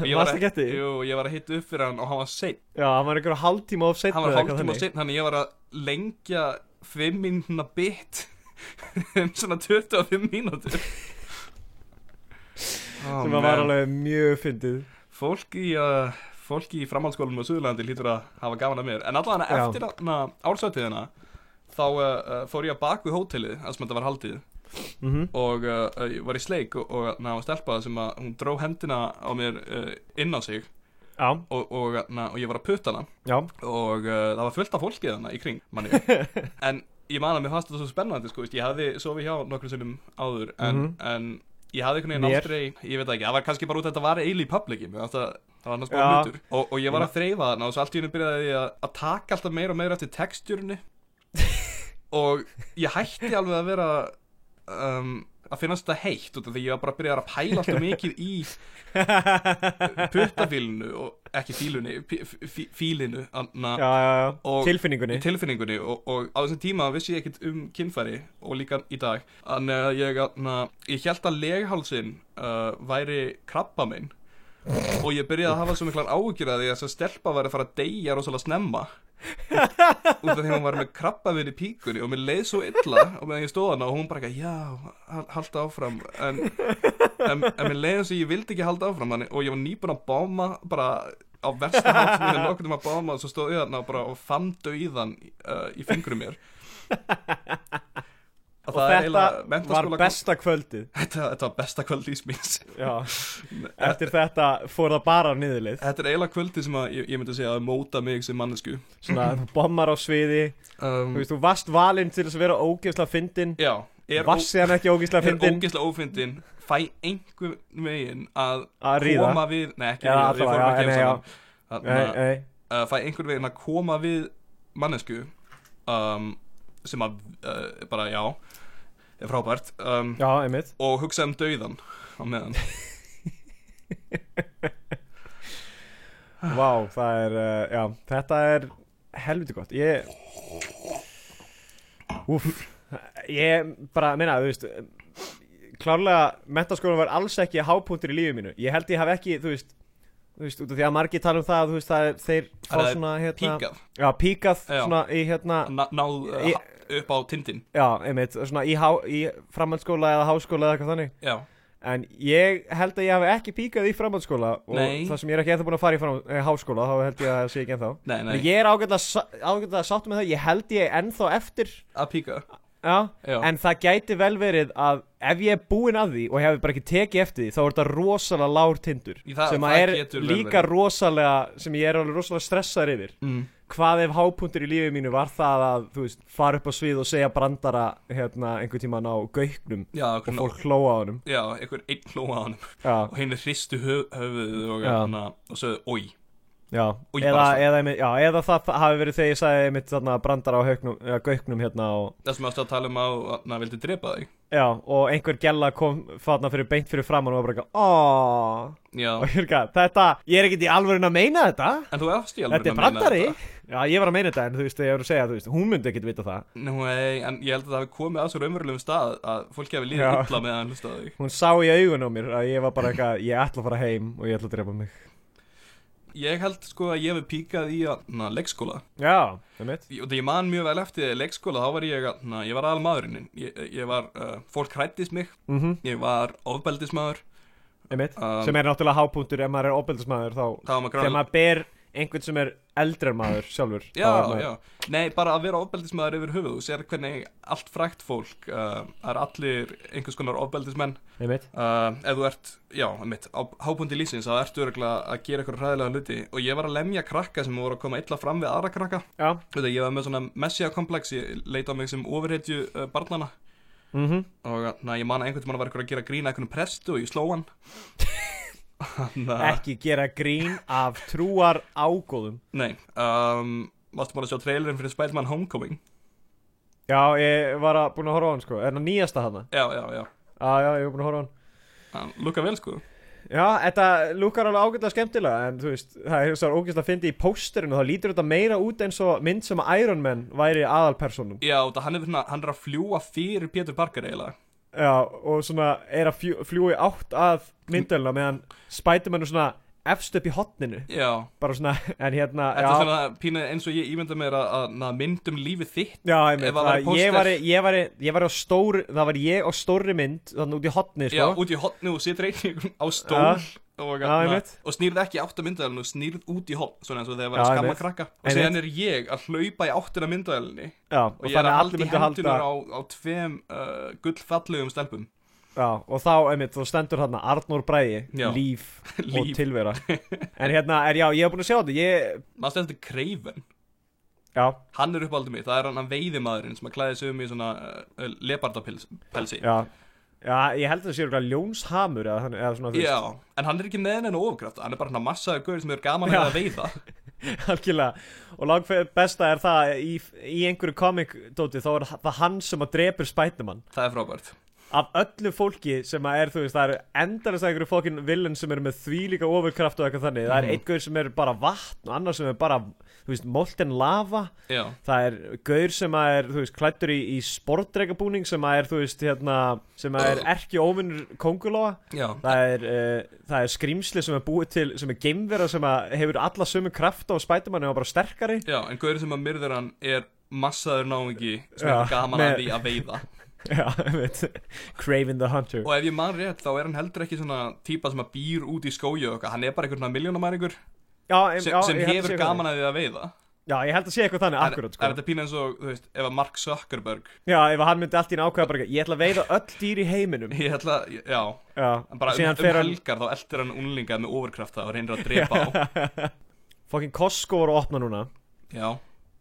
S3: Ég var
S2: Varstu
S3: að-
S2: ekki eftir því?
S3: Jú, ég var að hitta upp fyrir hann og hann var seinn
S2: Já, hann var einhverju hálftíma of seinna
S3: hann var
S2: eða eitthvað
S3: hálftíma
S2: þannig.
S3: sinn þannig ég var að lengja 5 mínúna bit um svona 25 mínútur oh,
S2: sem var alveg mjög fyndið.
S3: fólk í uh, fólk í framhaldsskólanum á Suðurlandi lítur að hafa gaman að mér en allavega
S2: Já.
S3: eftir þarna ársvætiðina þá uh, uh, fór ég að bak við hótelið þar sem þetta var haldið
S2: Mm
S3: og uh, uh, ég var í sleik og, og ná, stelpa sem að hún dró hendina á mér uh, inn á sig
S2: Já,
S3: og, og, na, og ég var að putta hana
S2: já,
S3: og uh, það var fullt af fólkið hana í kring manni. en ég man að mér fannst þetta svo spennandi sko, veist, ég hafði sofið hjá nokkrum sinnum áður en,
S2: Mhm.
S3: en ég hafði einhvern veginn
S2: Mér?
S3: aldrei ég veit það ekki, það var kannski bara út að þetta var eil í publiki mér fannst það það var annars bara
S2: Já.
S3: hlutur og, og ég var að þreyfa þarna og svo allt í hennu byrjaði ég að, að taka alltaf meira og meira eftir textjörni og ég hætti alveg að vera um, að finnast þetta heitt út af því ég var bara að byrja að pæla alltaf mikið í puttafílinu og ekki fílunni, pí- fí- fí- fílinu anna,
S2: já, já, já.
S3: Og-
S2: tilfinningunni.
S3: í tilfinningunni og, og á þessum tíma vissi ég ekkert um kynfæri og líka í dag þannig að ég, na, ég held að leghálsin uh, væri krabba minn og ég byrjaði að hafa svo miklar áhyggjur að því að þess að stelpa væri að fara að deyja rosalega snemma út af því að hún var með krabba minn í píkunni og mér leið svo illa og meðan ég stóð hana og hún bara ekki já, hal- halda áfram en, en, en mér leið eins og ég vildi ekki halda áfram þannig, og ég var nýbúin að báma bara á versta hátt sem ég hef nokkuð um að báma og svo stóð ég þarna og bara og fann döiðan uh, í fingrum mér og,
S2: og
S3: það er
S2: þetta
S3: eiginlega
S2: var
S3: menntaskóla-
S2: besta kvöldið.
S3: þetta, þetta var besta kvöld í smins
S2: Já, eftir þetta fór það bara á niðurlið.
S3: Þetta er eiginlega kvöldi sem að ég, ég myndi segja að móta mig sem mannesku
S2: Svona, þú bommar á sviði,
S3: um,
S2: þú veist, þú varst valinn til þess að vera ógeðslega fyndin.
S3: Já, er, ó,
S2: Varst síðan ekki ógeðslega
S3: er
S2: fyndin.
S3: ógeðslega ófindin fæ einhver veginn að
S2: Að ríða.
S3: koma við Nei, ekki
S2: Já,
S3: ríða, við
S2: allavega,
S3: fórum
S2: já,
S3: ekki
S2: nei,
S3: heim
S2: já.
S3: saman
S2: Nei,
S3: Þarna,
S2: nei.
S3: uh, Fæ einhver veginn að koma við mannesku um, sem að uh, bara já er frábært um,
S2: Já, einmitt.
S3: og hugsa um dauðan á meðan
S2: Vá, það er, uh, já, þetta er helviti gott Ég Úf Ég bara, meina, þú veist Klárlega, mentaskólan var alls ekki hápunktur í lífi mínu Ég held ég haf ekki, þú veist Þú veist, út af því að margir tala um það Þú veist, það er, þeir fá
S3: Það er
S2: svona, hérna
S3: píkað,
S2: Já, píkað,
S3: Já.
S2: svona, í, hérna
S3: ná, náð uh,
S2: Ég-
S3: ha- upp á tindin
S2: Já, einmitt, svona í, há, í framhaldsskóla eða háskóla eða eitthvað þannig
S3: Já,
S2: En ég held að ég hafi ekki píkað í framhaldsskóla Og
S3: Nei.
S2: það sem ég er ekki eftir búin að fara í fram, eh, háskóla Þá held ég að það sé ekki ennþá
S3: nei, nei,
S2: Nei. Ég er ágætlega sa- ágætlega sátt með það, ég held ég ennþá eftir
S3: að píka
S2: já,
S3: Já,
S2: En það gæti vel verið að ef ég er búinn að því og hefði bara ekki tekið eftir því Þá er þetta rosalega lár tindur
S3: Í það-
S2: Sem
S3: það
S2: að er
S3: getur vel
S2: líka
S3: verið.
S2: rosalega, sem ég er alveg rosalega stressaður yfir
S3: mm.
S2: Hvað ef hápuntur í lífið mínu var það að, þú veist, fara upp á svið og segja brandara hérna einhvern tíman á gauknum
S3: já,
S2: Og
S3: hvernig,
S2: fólk hlóa á honum
S3: já, einhver einn hlóa á hann
S2: Já,
S3: og hinn er hristu höf, höfuðið og,
S2: Já.
S3: hana, og sögðu, oi
S2: já,
S3: Og ég
S2: eða,
S3: bara-
S2: eða, einmitt- já eða það, það hafi verið þegar ég sagði mitt þarna brandara á hauknum, ja, gauknum hérna og
S3: það sem ástu að tala um að hann vildi drepa þig
S2: Já, og einhver gella kom þarna fyrir beint fyrir framann og var bara eitthvað "Aw."
S3: Já,
S2: Og ég er eitthvað, þetta, ég er ekkert í alvörun að meina þetta
S3: en þú efst í alveg
S2: Þetta er brandari Já, ég var að meina þetta en þú veist, ég var að segja, þú veist, hún myndi ekkert vita það
S3: Nei, en ég held að það hafi komið að svo raunverulegum stað að fólki hafi líðið
S2: Já.
S3: illa með að hann hlusta á þig
S2: Hún sá í augun á mér að ég var bara eitthvað, ég ætla að fara heim og ég ætla að drepa mig
S3: Ég held sko að ég hef píkað í að, na, leikskóla
S2: Já, það mitt
S3: Ég- og það ég man mjög vel eftir leikskóla þá var ég, að- na, ég var aðal maðurinn ég, ég var, uh, fólk hrættist mig
S2: Mm
S3: ég var ofbeldismadur
S2: einmitt,
S3: Um,
S2: sem er náttúrulega hápunktur ef maður er opildismæður þá
S3: þá var maður
S2: þegar
S3: grannlega
S2: maður ber einhvern sem er eldri en maður sjálfur þá er
S3: já,
S2: maður,
S3: já, nei, bara að vera ofbeldismadur yfir höfuð, þú sér hvernig allt frækt fólk uh, er allir einhvers konar ofbeldismenn
S2: einmitt
S3: uh, ef þú ert, já, mitt, á hápundi lýsins þá ertu örgulega að gera eitthvað hræðilega hluti og ég var að lemja krakka sem voru að koma illa fram við aðra krakka
S2: já,
S3: Þú veit að ég var með svona messiakomplex, ég leita á mig sem ofurhetju uh, barnana
S2: mhm
S3: og na, ég man að einhvern tímann var eitthvað að gera grína einhvern prestu og ég sló hann Þannig að,
S2: ekki gera grín af trúar ágóðum
S3: nei um, Varstu búin að sjá trailerinn fyrir Spiderman Homecoming?
S2: Já, ég var að búin að horfa á hann sko Er hann nýjasta hana?
S3: Já, já, já
S2: Já, já, ég var búin að horfa á hann
S3: Hann Lukka vel sko
S2: Já, þetta lukkar alveg ágætlega skemmtilega En þú veist, það er svo ógæst að fyndi í pósterinu Þá lítur þetta meira út eins og mynd sem að Iron Man væri aðalpersonum
S3: Já, það hann er, svona, hann er að fljúa fyrir Pétur Parker eiginlega
S2: Já, og svona er að fljúi fljúi átt að myndalina Meðan Spiderman er svona efst upp í hotninu
S3: Já,
S2: Bara svona, en hérna
S3: þetta er
S2: já,
S3: svona pínu eins og ég ímynda mér að, að na, myndum lífið þitt
S2: Já, einmitt,
S3: ef það væri
S2: það- ég var,
S3: póster-
S2: ég var, ég var á stóri, það var ég á stóri mynd, þannig út í hotni, sko.
S3: Já, út í hotni og situr einhvern á stól og,
S2: Já,
S3: na,
S2: einmitt.
S3: og snýrð ekki átt að myndaðalinn og snýrð út í hotn svona eins og þegar var
S2: Já,
S3: að skamma
S2: einmitt.
S3: krakka og
S2: Einmitt.
S3: síðan er ég að hlaupa í áttina myndaðalinni
S2: Já, og,
S3: og ég er
S2: þannig að allir
S3: að halda í
S2: myndu halda
S3: hendunar á, á tveim uh, gullfallegum stelpum
S2: Já, og þá, einmitt, þú stendur hérna Arnór Bræði,
S3: Já.
S2: líf, og
S3: Líf.
S2: tilvera En hérna, er, já, ég hef búin að sjá þetta Ég,
S3: maður stendur Craven
S2: já,
S3: hann er uppáldið mitt, það er hann að veiðimaðurinn sem að klæði sig um í svona uh, lepardapelsi
S2: já Já, ég held að það sé eitthvað ljónshamur eða, þannig- eða svona, þú
S3: Já, en hann er ekki með henni ofkraft hann er bara hann að massaði guður sem er gaman að, að veiða
S2: veist, algjörlega Og langt besta er það að í, í einhverju komikdóti þá er það hann sem að drepur spætumann
S3: það er frábært
S2: Af öllu fólki sem að er, þú veist, það eru endalega einhverju fólkin villin sem eru með þvílíka ofurkraft og eitthvað þannig Það er
S3: Mhm.
S2: einn gaur sem er bara vatn og annar sem er bara, þú veist, molten lava
S3: Já,
S2: það er gaur sem að er, þú veist, klættur í, í sportdregabúning sem að er, þú veist, hérna, sem að er erki óvinnur kongulóa.
S3: já,
S2: Það er, uh, það er skrýmsli sem er búið til, sem er geimvera sem að hefur alla sömu krafta og spætumann og bara sterkari.
S3: já en guður sem að myrður hann er massaður náingi sem
S2: Já,
S3: er gaman
S2: með-
S3: að því að veiða
S2: Já, veit, Craven the Hunter.
S3: og ef ég man rétt þá er hann heldur ekki svona típa sem að býr út í skóju og eitthvað hann er bara einhvern miljónamæringur
S2: Já, em,
S3: sem,
S2: já,
S3: sem
S2: ég held að
S3: hefur
S2: sé eitthvað
S3: gaman að því að veiða
S2: þannig. Já, ég held að sé eitthvað þannig,
S3: Er-
S2: akkurat,
S3: Er
S2: sko.
S3: þetta pína eins og, þú veist, ef að Mark Zuckerberg
S2: Já, ef hann myndi allt í einu ákveða bara, eitthvað, ég ætla að veiða öll dýr í heiminum.
S3: Ég ætla, að- já,
S2: Já,
S3: en bara um,
S2: síðan
S3: um
S2: fer hann,
S3: helgar þá eldir hann unlinga með overkrafta og reynir að drepa á
S2: fokkin Costco voru að opna núna.
S3: Já,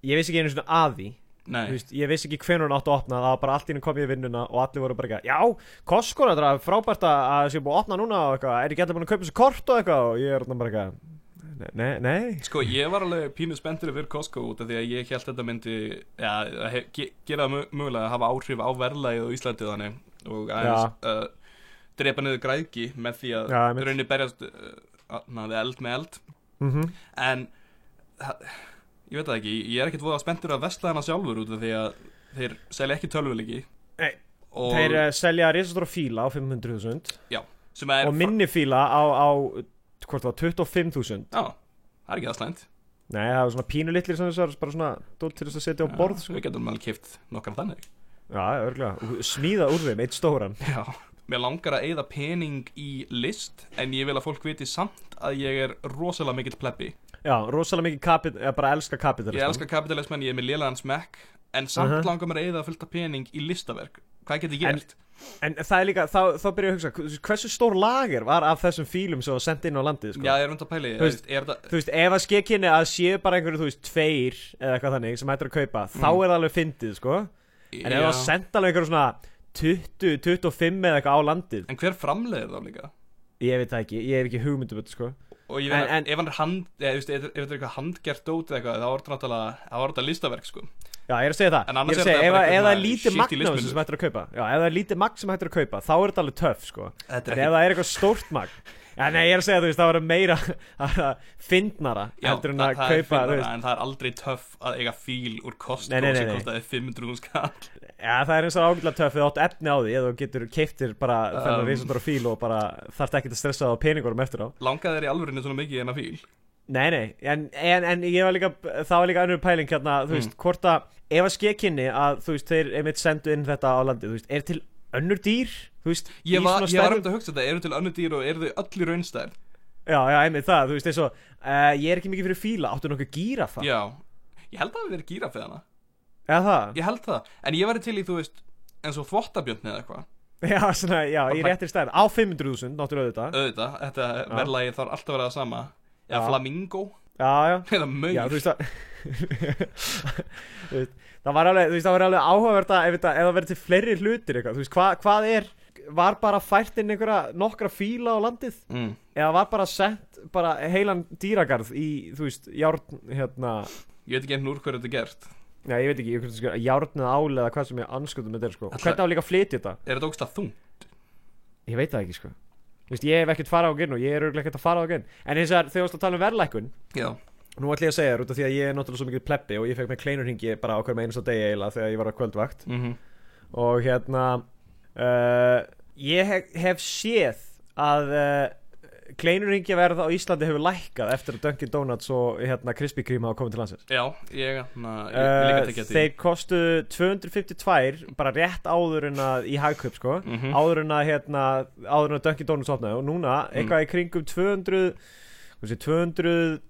S2: Ég veist ekki einu svona að því. Þú
S3: nei,
S2: veist, ég vissi ekki hvernig hún átti að opna það var bara allt inn kom ég í vinnuna og allir voru bara eitthvað já, Costco þetta er frábært að að það sé búið að opna núna og eitthvað er ekki allir búin að kaupa þessu kort og eitthvað og ég er þarna bara eitthvað nei, nei, nei
S3: sko ég var alveg pínu spenntur fyrir Costco út af því að ég held þetta myndi, já, það hef- ge- gera það mö- mögulega að hafa áhrif á verðlagið á Íslandi og þannig og aðeins uh, drepa niður græðgi með því að
S2: Já, einmitt.
S3: rauninni berjast uh, að- na, við eld með eld
S2: mm
S3: en það- ég veit það ekki, ég er ekkert voða spenntur að vesla hana sjálfur út af því að þeir selja ekki tölvuleiki
S2: Nei,
S3: og
S2: þeir uh, selja risastóra fíla á 500.000
S3: sem er
S2: og minni fíla á, á hvort það var 25.000
S3: já, það er ekki það slæmt
S2: nei, það var svona pínulitlir sem þessar bara svona dótt til þess að setja á borð sko.
S3: við getum alveg kipt nokkar þannig
S2: já, örgulega, smíða úr þeim, eitt stóran
S3: já, mér langar að eigða pening í list en ég vil að fólk viti samt að ég er rosalega mikill plebbi
S2: já, rosalega mikið kapit, eða bara elska kapitalism
S3: ég elskar kapitalismen, ég er með lélagan smekk en samt
S2: Mhm.
S3: langar mér að eigða fullta pening í listaverk hvað get ég
S2: En-
S3: gert?
S2: En það er líka, þá, þá byrja ég að hugsa, hversu stór lager var af þessum fílum sem var sendt inn á landið, sko?
S3: já, ég er undan pæli,
S2: Þú veist,
S3: er þetta
S2: Þú veist, ef að skekkinni að séu bara einhverju, þú veist, tveir eða eitthvað þannig sem hættir að kaupa, þá er það alveg fyndið, sko? En ef það var
S3: Mm. Já.
S2: sendt alveg einhverju svona 20, 25 eða eitthvað á landið,
S3: en hver framleiðir þá líka?
S2: ég veit það ekki, ég hef ekki hugmyndum þetta, sko?
S3: og ég
S2: En-
S3: veit
S2: en-
S3: að ef hann er hand eða, þú veist, ef ef þetta er eitthvað handgert dót eða eitthvað þá er þetta náttúrulega þá er þetta listaverk sko
S2: Já, ég er að segja það,
S3: En
S2: ég
S3: annars
S2: er að
S3: er
S2: segja,
S3: þetta
S2: ef
S3: bara
S2: að- ef
S3: eitthvað
S2: það er lítið
S3: shitty
S2: magn af þessu
S3: listmunur.
S2: sem hættir að kaupa Já, ef það er lítið magn sem hættir að kaupa, þá er þetta alveg töff, sko
S3: Þetta
S2: En
S3: er
S2: ef
S3: ekki
S2: það er eitthvað stórt magn Já, nei, ég er að segja, þú veist, það var meira fyndnara heldur en að
S3: það- það
S2: kaupa,
S3: er
S2: þú
S3: fyndnara,
S2: veist
S3: en það er aldrei töff að eiga fíl úr
S2: Nei,
S3: Costco
S2: nei, nei,
S3: sem
S2: nei.
S3: kostaði 500 skall
S2: Já, það er eins og ágætlega töff eða átt efni á því eða þú getur keiftir bara þennan um,
S3: Um.
S2: risundar fíl og bara þarft ekki að stressa það á peningurum eftir á
S3: langaði þér í alvörinu svona mikið en að fíl
S2: Nei, nei, en, en, en ég var líka það var líka önnur pæling hérna, þú
S3: Mm.
S2: veist, hvort að ef að skekinni að, þú veist, þeir einmitt sendu inn þetta á landi, þú veist, er til önnur dýr, þú veist,
S3: ég var, ég var
S2: stærri-
S3: um að hugsa þetta, eru til önnur dýr og eru þau öll í raunstær
S2: Já, já, einmitt það, þú veist, eins og uh, ég er ekki mikið fyrir fíla, áttu nokkuð gýra það
S3: já, ég held að það hafi verið gíraffi hana
S2: Já, það,
S3: ég held það, en ég væri til í þú veist eins og þvottabjörn eða eitthvað
S2: já, svona, já, í réttir stærð á 500.000, náttúrulega auðvitað
S3: auðvitað, þetta verðlagi þarf alltaf að vera það sama eða
S2: Já.
S3: flamingo,
S2: Já, já,
S3: eða maur
S2: Já, þú veist að Þú veist, Það var alveg, þú veist, það var alveg áhugavert að ef, þetta, ef það verið til fleiri hlutir eitthvað, þú veist, hva, hvað er var bara fært inn einhverja nokkra fíla á landið
S3: mm.
S2: eða var bara sett bara heilan dýragarð í, þú veist, járn hérna,
S3: ég veit ekki einhvern úr hverju þetta er gert
S2: já, ég veit ekki, ég hvernig skilja járn eða ál eða hvað sem ég anskutum þetta er, sko,
S3: Ætla-
S2: hvernig á líka að flytja þetta
S3: er þetta ógst að þú?
S2: ég veit það ekki, sko, þú veist, ég hef ekkert farað á genn og ég er örugglega ekkert að fara á genn, en hins vegar þegar þú varst að tala um verðlækun,
S3: já,
S2: Nú ætlum ég að segja þér út af því að ég er náttúrulega svo mikið plebbi og ég fekk með kleinurhingi bara á hverjum einasta degi eiginlega þegar ég var á kvöldvakt
S3: mm
S2: og hérna uh, ég hef, hef séð að uh, kleinurhingi verð á Íslandi hefur lækkað eftir að Dunkin Donuts og hérna Krispy Kreme hafa komið til landsins
S3: já ég, na, ég, ég líka
S2: Uh,
S3: tekja því
S2: þeir kostu 252 bara rétt áður en að í hagkaup sko
S3: Mhm.
S2: áður en að hérna áður en að Dunkin Donuts opnaði og núna
S3: Mm.
S2: eitthvað í kringum 200 hvað sé,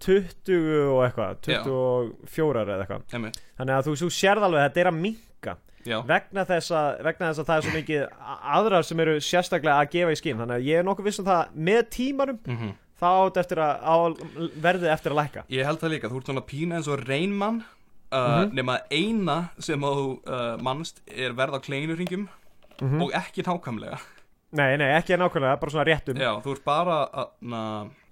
S2: 220 og eitthvað 24 eða eitthvað
S3: Einmitt,
S2: þannig að þú, þú sérð alveg að þetta er að minka
S3: já,
S2: vegna þess, að, vegna þess að það er svo mikið a- aðrar sem eru sérstaklega að gefa í skinn þannig að ég er nokkuð viss um það að með tímanum
S3: mm
S2: þá á þetta eftir að á, verðið eftir að lækka
S3: ég held það líka þú ert svona pína eins og reynmann uh,
S2: Mhm.
S3: nema að eina sem að þú uh, mannst er verð á kleinurringjum
S2: Mhm.
S3: og ekki nákvæmlega
S2: nei, nei, ekki nákvæmlega, bara svona um- réttum
S3: já, þú ert bara að, na,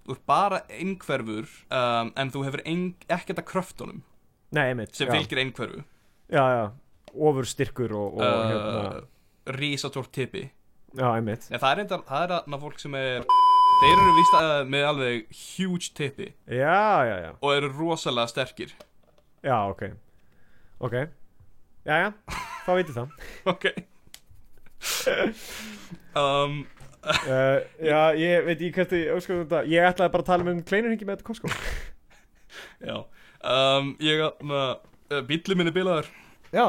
S3: þú ert bara einhverfur um, en þú hefur ein, ekkert að kröftunum
S2: nei, einmitt
S3: sem
S2: já.
S3: fylgir einhverfu
S2: já, já, ofurstyrkur og, og hérna,
S3: uh, risatort tipi
S2: já, einmitt
S3: Nei, það er enda, það er að fólk sem er þeir eru vist að með alveg huge tipi
S2: já, já, já,
S3: og eru rosalega sterkir
S2: já, ok ok, já, já þá veitir það
S3: ok um,
S2: uh, já, ég veit, ég kannski óskum þetta, ég ætlaði bara að tala um kleinurhingi með þetta Costco
S3: já um, ég uh, að bíllum minni bilaður
S2: já,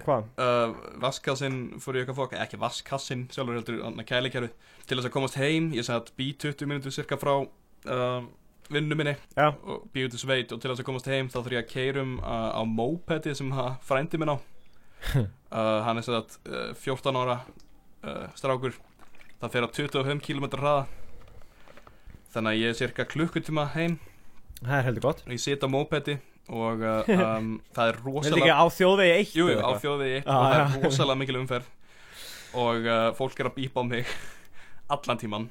S2: hvað,
S3: uh, vaskassinn fór í eitthvað fokk ekki vaskassinn, sjálfur heldur annar kælikerfi til þess að komast heim, ég satt bí 20 minútur cirka frá um, vinnu minni
S2: Já.
S3: og bí út í sveit og til þess að komast heim þá þurf ég að keirum uh, á mopedi sem ha, frændi minn á uh, hann er sem sagt uh, 14 ára uh, strákur það fer á 25 km hraða þannig að ég er cirka klukkutíma heim
S2: það er heldur gott
S3: og ég sit á mopedi og uh, um, það er
S2: Vildi
S3: rosalega
S2: ekki á þjóðvegi eitt
S3: Jú, jú,
S2: eða
S3: á
S2: eitthvað? Ah.
S3: þjóðvegi
S2: Já,
S3: 1 og það
S2: já.
S3: er rosalega mikil umferð og uh, fólk er að bípa á mig allan tíman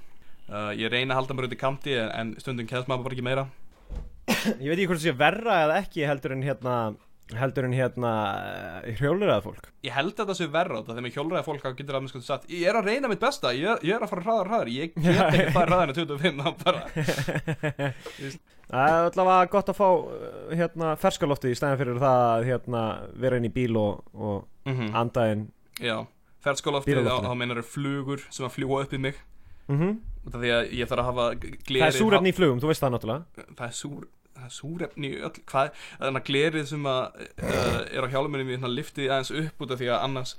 S3: uh, Ég reyna að halda mér út í kanti en- en stundum kemst maður bara ekki meira
S2: Ég veit ekki hvort það sé verra eða ekki heldur en hérna heldur en hérna hrjóleraða fólk
S3: Ég held að það sé verra á þetta þegar mér hjólraði fólk að getur alveg skoðið satt Ég er að reyna mitt besta, ég er, ég er að fara hraðar hraðar Ég get
S2: Já,
S3: ekki
S2: já.
S3: farið hraðar en 25 þá bara
S2: Það er allavega gott að fá uh, hérna ferskaloftið í stæðan fyrir það að hérna vera inn í bíl og, og
S3: mm
S2: anda inn
S3: Já, ferðskólaftið,
S2: Bílaloftið.
S3: þá meinar er flugur sem að fljúa upp í mig
S2: mm
S3: Út af því að ég þarf að hafa glerið
S2: Það er súrefni í flugum, þú veist það náttúrulega
S3: það er súr það er súrefni í öll hvað þannig að glerið sem að uh, er á hjálmunum ég lifti því aðeins upp út af því að annars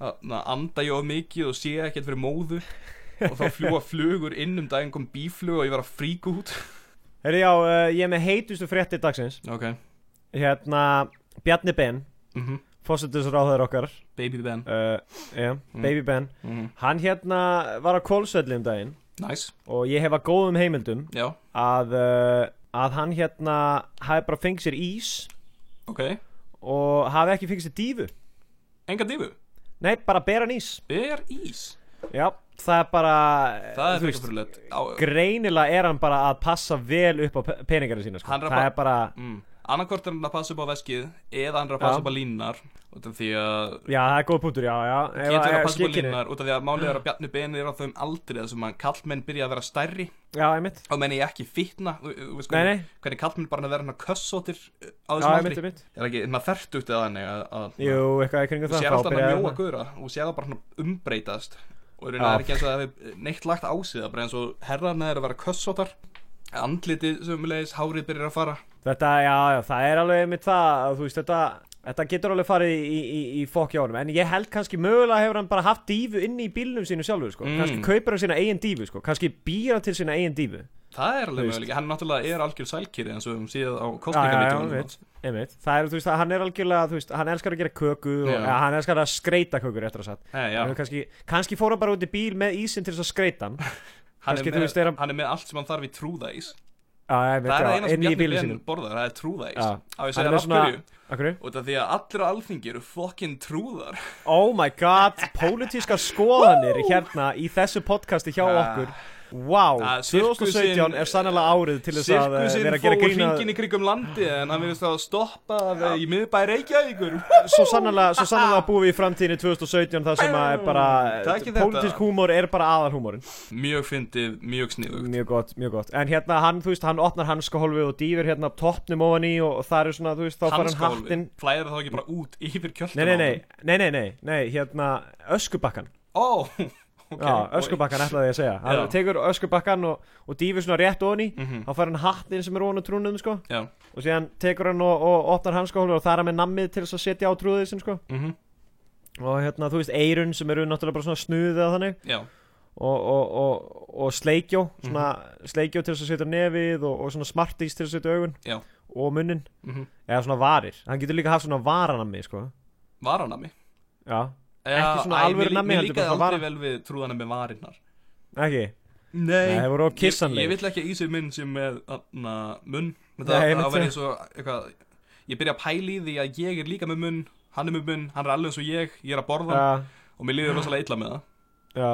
S3: að, na, anda ég of mikið og sé ekkert fyrir móðu og þá fljúa flugur inn um daginn kom bíflug og ég var að fríka út
S2: Herri já, uh, ég er með heitustu frétti dagsins
S3: ok
S2: Hérna, Bjarni Ben,
S3: mm
S2: fósettisráðar okkar
S3: baby Ben
S2: uh, yeah,
S3: Mm.
S2: Baby Ben
S3: mm
S2: Hann hérna var á kólsvelli um daginn
S3: nice
S2: og ég hef að góðum heimildum
S3: já
S2: að, uh, að hann hérna hafi bara fengið sér ís
S3: ok
S2: og hafi ekki fengið sér dífu
S3: enga divu
S2: Nei, bara beran ís
S3: ber ís
S2: Já, það er bara
S3: það er
S2: þú
S3: fyrir
S2: veist,
S3: fyrir lett
S2: greinilega er hann bara að passa vel upp á pe- peningarna sína sko.
S3: Hann er
S2: það
S3: að pa-
S2: er bara,
S3: mm. annarkort er hann að passa upp á veskið eða hann er að passa
S2: Já.
S3: upp á línar út af því að
S2: já það er góð punktur já, já, ef-
S3: getur verið
S2: ef
S3: að passa upp á
S2: skikkinni-
S3: línar út af því að málið er að Bjarni Ben er á þeim aldrei þessum að kallmenn byrja að vera stærri
S2: já, einmitt
S3: og menn ég ekki fitna þú- þú veist
S2: Nei,
S3: hvernig,
S2: nei.
S3: hvernig kallmenn bara vera hann að kössótir uh,
S2: já,
S3: á þessum
S2: einmitt,
S3: aldrei
S2: einmitt
S3: er það ekki hérna þertugt eða þannig að, að
S2: jú, eitthvað í kringum
S3: þú
S2: það
S3: sér
S2: þá
S3: alltaf hann
S2: byrjar
S3: að mjóa
S2: þarna.
S3: guðra og þú sér það bara hann umbreytast og í raun
S2: Já.
S3: það er ekki eins og það hefur neitt lagt á sig það er bara eins og herðarna er að vera kössótar andlitið sömulegis, hárið byrjar að fara
S2: þetta, já, já, það er alveg einmitt það að, þú veist, þetta Þetta getur alveg farið í, í, í, í fokk hjá honum En ég held kannski mögulega hefur hann bara haft dífu inni í bílnum sínu sjálfur sko.
S3: Mm.
S2: Kannski kaupir hann sína eigin dífu sko. Kannski býr hann til sína eigin dífu
S3: það
S2: Þú
S3: er alveg
S2: veist.
S3: möguleik hann náttúrulega er algjör sælkýri eins og við höfum síðan á
S2: Já, já, já,
S3: kostningavítunum
S2: Einmitt. Það er, þú veist, að hann er algjörlega, þú veist, hann elskar að gera köku og
S3: Já.
S2: ja, hann elskar að skreita kökur eftir að satt.
S3: Nei, já.
S2: Kannski, kannski fór hann bara út í bíl með ísinn til þess að skreita hann.
S3: hann,
S2: Kannski,
S3: er
S2: þú veist, er
S3: með,
S2: hann-
S3: hann er með allt sem hann þarf í trúðæs
S2: Já, einmitt,
S3: það er það
S2: já,
S3: eina sem
S2: inn í
S3: Bjarni
S2: bílinn
S3: Ben
S2: sínum.
S3: borðar það er trúðæs
S2: Já.
S3: á ég
S2: Hann er
S3: segja
S2: með
S3: af hverju
S2: Akkur?
S3: og það því að allir á alþingi eru fokkin trúðar
S2: Oh my god, pólitískar skoðanir hérna í þessu podcasti hjá
S3: Ah.
S2: okkur. Wow,
S3: Ah, sirkusinn-
S2: 2017 er sannlega árið til þess að eh,
S3: sirkusinn
S2: vera að
S3: fór
S2: gera grína
S3: hringin í krigum landi en hann verðist að stoppa ja. í miðbæ Reykjavíkur
S2: svo sannlega, svo sannlega búum við í framtíðinni 2017 þar sem að er bara
S3: Takið þetta.
S2: pólitísk húmor er bara aðalhúmorinn
S3: mjög fyndið, mjög sniðugt
S2: Mjög gott, mjög gott En hérna hann, þú veist, hann opnar hanskahólfið og dýfir hérna toppnum ofan í og það er svona, þú veist, þá fara hann
S3: hanskólfi,
S2: hattinn
S3: flæðir það þá ekki bara út yfir kjöldum
S2: Nei, nei, nei, nei, nei, nei, nei, hérna öskubakkan
S3: ó, ok
S2: Já, öskubakkan ætlaði ég að segja Hann
S3: Já. Mhm.
S2: tekur öskubakkan og, og dýfir svona rétt ofan í þá fara hann hattinn sem er ofan á trúnum, sko
S3: já,
S2: og síðan tekur hann og, og opnar hanskahólfið og það er hann með nammið til þess að setja á trúðið sinn, sko
S3: mhm,
S2: og hérna, þú veist, eirun sem eru náttúrulega bara svona snuðið að þannig
S3: já
S2: og, og, og, og sleikjó svona
S3: Mhm.
S2: sleikjó til þess að setja nefið og, og svona smartís til að setja augun
S3: Já.
S2: og munnin,
S3: mhm.
S2: eða svona varir hann getur líka haft svona varanammi sko.
S3: varanami
S2: já,
S3: Já,
S2: Ekki svona
S3: æ, mér
S2: alvöru
S3: lí-
S2: nammi,
S3: Mér
S2: heldur
S3: líkaði
S2: bara vara-
S3: aldrei vel við trúðana með varinnar
S2: ekki
S3: Nei,
S2: Nei, þeir voru of
S3: Ég,
S2: kissanlegir.
S3: ég vill ekki að ísir minn sem með na, munn Men
S2: Nei,
S3: það,
S2: ég
S3: það
S2: myndi
S3: verði svo eitthvað Ég byrja að pæla í því að ég er líka með munn Hann er með munn, hann er alveg eins og ég Ég er að borða
S2: já,
S3: og mér líður rosalega illa með það
S2: já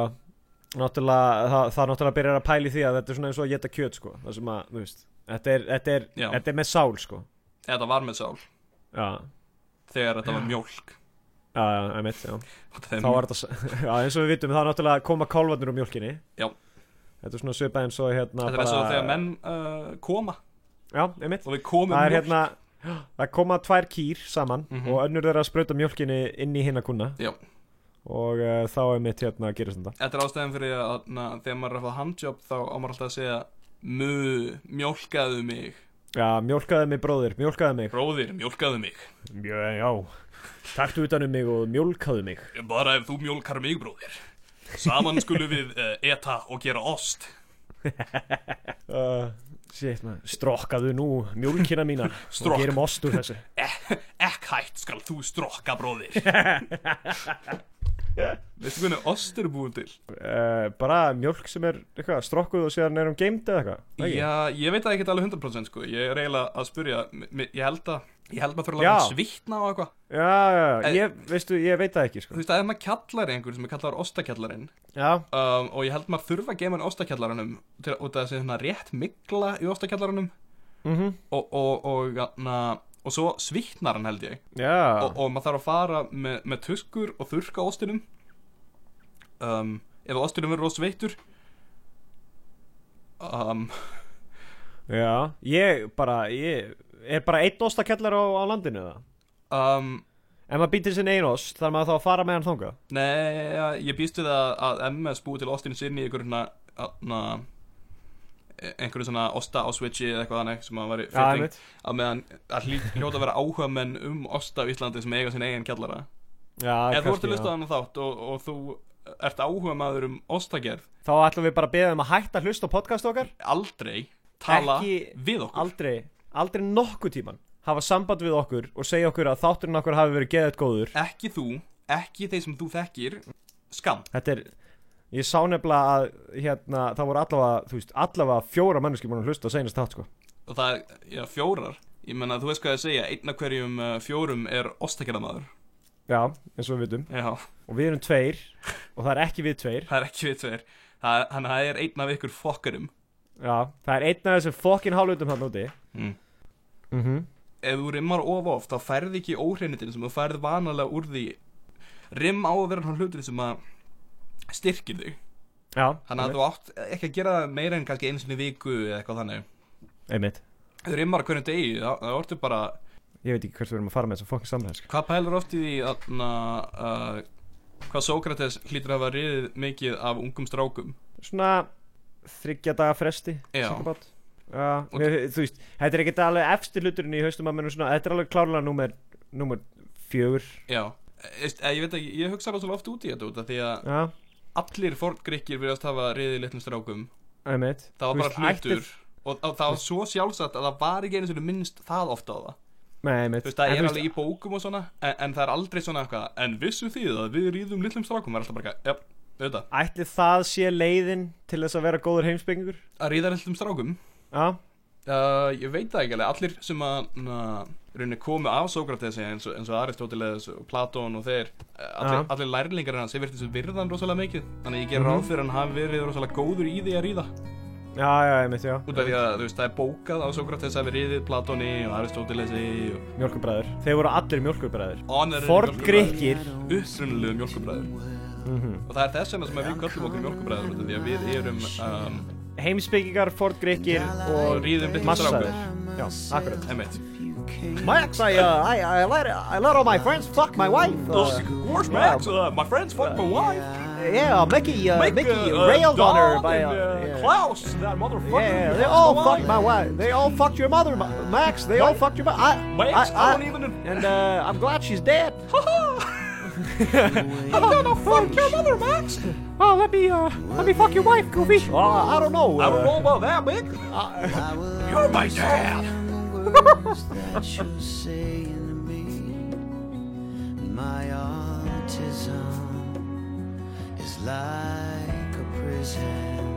S2: náttúrulega, það, það náttúrulega byrjar að pæli því að þetta er svona eins og að geta kjöt sko, það sem að, þú veist þetta er, þetta er,
S3: Já.
S2: þetta er með sál sko
S3: Eða það var með sál
S2: já,
S3: Þegar þetta var mjólk
S2: já, já, emitt, já
S3: Og þeim-
S2: þá var þetta, s- já, eins og við vitum þá náttúrulega koma kálvarnir úr mjólkinni
S3: Já.
S2: þetta er svona svipað eins og hérna
S3: Þetta er eins og þegar menn uh, koma
S2: já, emitt
S3: Og við komum
S2: það er
S3: mjólk.
S2: hérna það koma tvær kýr saman
S3: Mhm.
S2: og önnur þeirra að sprauta mjólkinni inn í hinna kuna
S3: Já.
S2: og uh, þá er mitt hérna að gera þetta
S3: Þetta er ástæðan fyrir að na, Þegar maður er að fá handjob þá á maður alltaf að segja Mu, mjólkaðu mig
S2: já, mjólkaði mig bróðir, mjólkaði mig
S3: Bróðir, mjólkaðu mig
S2: já, já, taktu utan um mig og mjólkaði mig
S3: Bara ef þú mjólkar mig, bróðir Saman skulum við uh, eta og gera ost
S2: uh, shit, man. strokkaðu nú mjólkina mína
S3: Strokk.
S2: og gerum ost úr þessu
S3: Ekk hætt skal þú strokka, bróðir Veistu hvernig ost eru búin til?
S2: uh, bara mjólk sem er eitthvað, strokkuð og síðan er hún geimd eða eitthvað er ekki?
S3: Já, ég veit það ekkert alveg 100% sko Ég er eiginlega að spyrja m- m- Ég held að, ég held maður fyrir að láta
S2: Já.
S3: hann svitna á eitthvað
S2: já, já, já.
S3: En-
S2: Ég, veistu, ég veit það ekki sko.
S3: Þú veist, það er maður kjallari einhver sem er kallar ostakjallarinn
S2: já,
S3: um, Og ég held maður þurfa að geima hann ostakjallarannum Til að út af þessi hérna rétt mikla í ostakjallarannum
S2: mm
S3: Og, og, og, na, og svo svitnar hann held ég
S2: já.
S3: og, og maður þarf að fara með, með tuskur og þurrka ostinum um, ef ostinum verður rosveittur um,
S2: Já, ég bara, ég er bara einn ostakellar á, á landinu það
S3: um,
S2: Ef maður býtir sinn einn ost, þarf maður þá að fara með hann þangað
S3: nei, ég býst við að, að MS búi til ostinu sinni í einhverju svona aðna, einhverju svona osta á switchi eða eitthvað þannig sem að veri
S2: Já,
S3: fyrting
S2: einmitt
S3: að meðan að hlý- hljóta að vera áhuga menn um osta á Íslandi sem eiga sinna eigin kjallara
S2: Já,
S3: ef þú ert
S2: kannski,
S3: að lusta
S2: já.
S3: þannig þátt og, og þú ert áhuga maður um ostagerð
S2: Þá ætlum við bara að beða um að hætta að hlusta á podcast okkar
S3: aldrei tala
S2: Ekki-
S3: við okkur
S2: Aldrei, aldrei nokkuð tíman hafa samband við okkur og segja okkur að þátturinn okkur hafi verið geðið góður
S3: ekki þú, ekki þeir sem þú þekkir skam,
S2: Þetta er, ég sá nefnilega að hérna, það voru allavega, þú veist, allavega fjóra manneskir búin að hlusta á seinast þátt sko
S3: og það eh, er já, fjórar ég menna, þú veist hvað ég segja, einn af hverjum uh, fjórum er ostakjæðamaður
S2: já, eins og við vitum
S3: Já,
S2: Og við erum tveir Og það er ekki við tveir
S3: það er ekki við tveir Það- Þannig að það er einn af ykkur fokkarum
S2: Já, það er einn af þessum fokkin hálfutum hann úti
S3: mm.
S2: Mhm
S3: Ef þú rimmar of oft þá færði ekki óhreinutin sem þú færði vanalega úr því Rimm á að vera hann hlutur sem að styrkir þig
S2: Já,
S3: Þannig að þú átt ekki að gera það meira en kannski einu sinni í viku eða eitthvað þannig
S2: einmitt
S3: Ef Þú rimmar á hvernig degi þá, þá ertu bara
S2: Ég veit ekki hvert við erum að fara með þessum fokkin samræðsk
S3: Hvað pælar oft í því þarna uh, hvað Sókrates hlýtur að hafa riðið mikið af ungum strákum
S2: Svona þryggja daga fresti
S3: Já.
S2: Sakabat Já,
S3: Og-
S2: mér, þú veist, þetta er ekkert alveg efstir hluturinn í haustum að mér svona, þetta er alveg klárlega númer, númer fjögur,
S3: Já Eist, ég veit ekki, ég hugsa rosalega oft út í þetta út af því að
S2: já,
S3: allir forngrikkir virðast hafa riðið litlum strákum
S2: einmitt
S3: Það var
S2: Þú
S3: bara
S2: ætti-
S3: hlutur og, og það var svo sjálfsagt að það var ekki einu sinni minnst það ofta á það
S2: Nei, einmitt
S3: Þú veist, það
S2: En
S3: er
S2: þú
S3: alveg í bókum og svona en, en það er aldrei svona eitthvað En vissu því að við ríðum litlum strákum Það er alltaf bara eitthvað, já, auðvitað
S2: Ætli það sé leiðin til þess að vera góður heimsbyggingur?
S3: Að ríða litlum strákum
S2: Já,
S3: uh, Ég veit það ekki alveg, allir sem að na, rauninni komu af Sókrates eins og, eins og Aristoteles og Platón og þeir eh,
S2: Já.
S3: Allir, allir lærlingar hans, þeir virtist virðan rosalega mikið Þannig að ég ger
S2: Mhm.
S3: ráð fyrir að hann hafi verið rosalega góður í því að ríða
S2: já, já, einmitt, já
S3: Út af því að þú veist, það er bókað á Sókrates að við ríðið Platóni og Aristotelesi og
S2: Mjölkubræður Þeir voru allir mjölkubræður
S3: Honorir
S2: Forn grikkir
S3: Upprunalegu mjölkubræður
S2: Mhm.
S3: Og það er þess vegna sem að við köllum okkur mjölkubræður Því að við erum um,
S2: Heimsbyggingar, forn grikkir og
S3: Ríðum litlum
S2: massaðir
S3: strákum.
S2: Já, akkurat
S3: Emmett
S2: Max, I, uh, I, I, let, I let all my friends fuck my wife Uh,
S3: Wars Max, uh, my friends fuck my wife
S2: Yeah, Mickey, uh,
S3: Make, uh, Don and, uh, Klaus, that motherfucker fucked my wife.
S2: wife. They all fucked your mother, Max. They all fucked your mother.
S3: Max, I, don't even
S2: And uh, I'm glad she's dead.
S3: I don't know, fuck your mother, Max
S2: Oh, let me uh, let me fuck your wife, Goofy. Uh, I don't know.
S3: I don't know about that, Mick You're my dad
S1: words that you say to me. My autism is like a prison.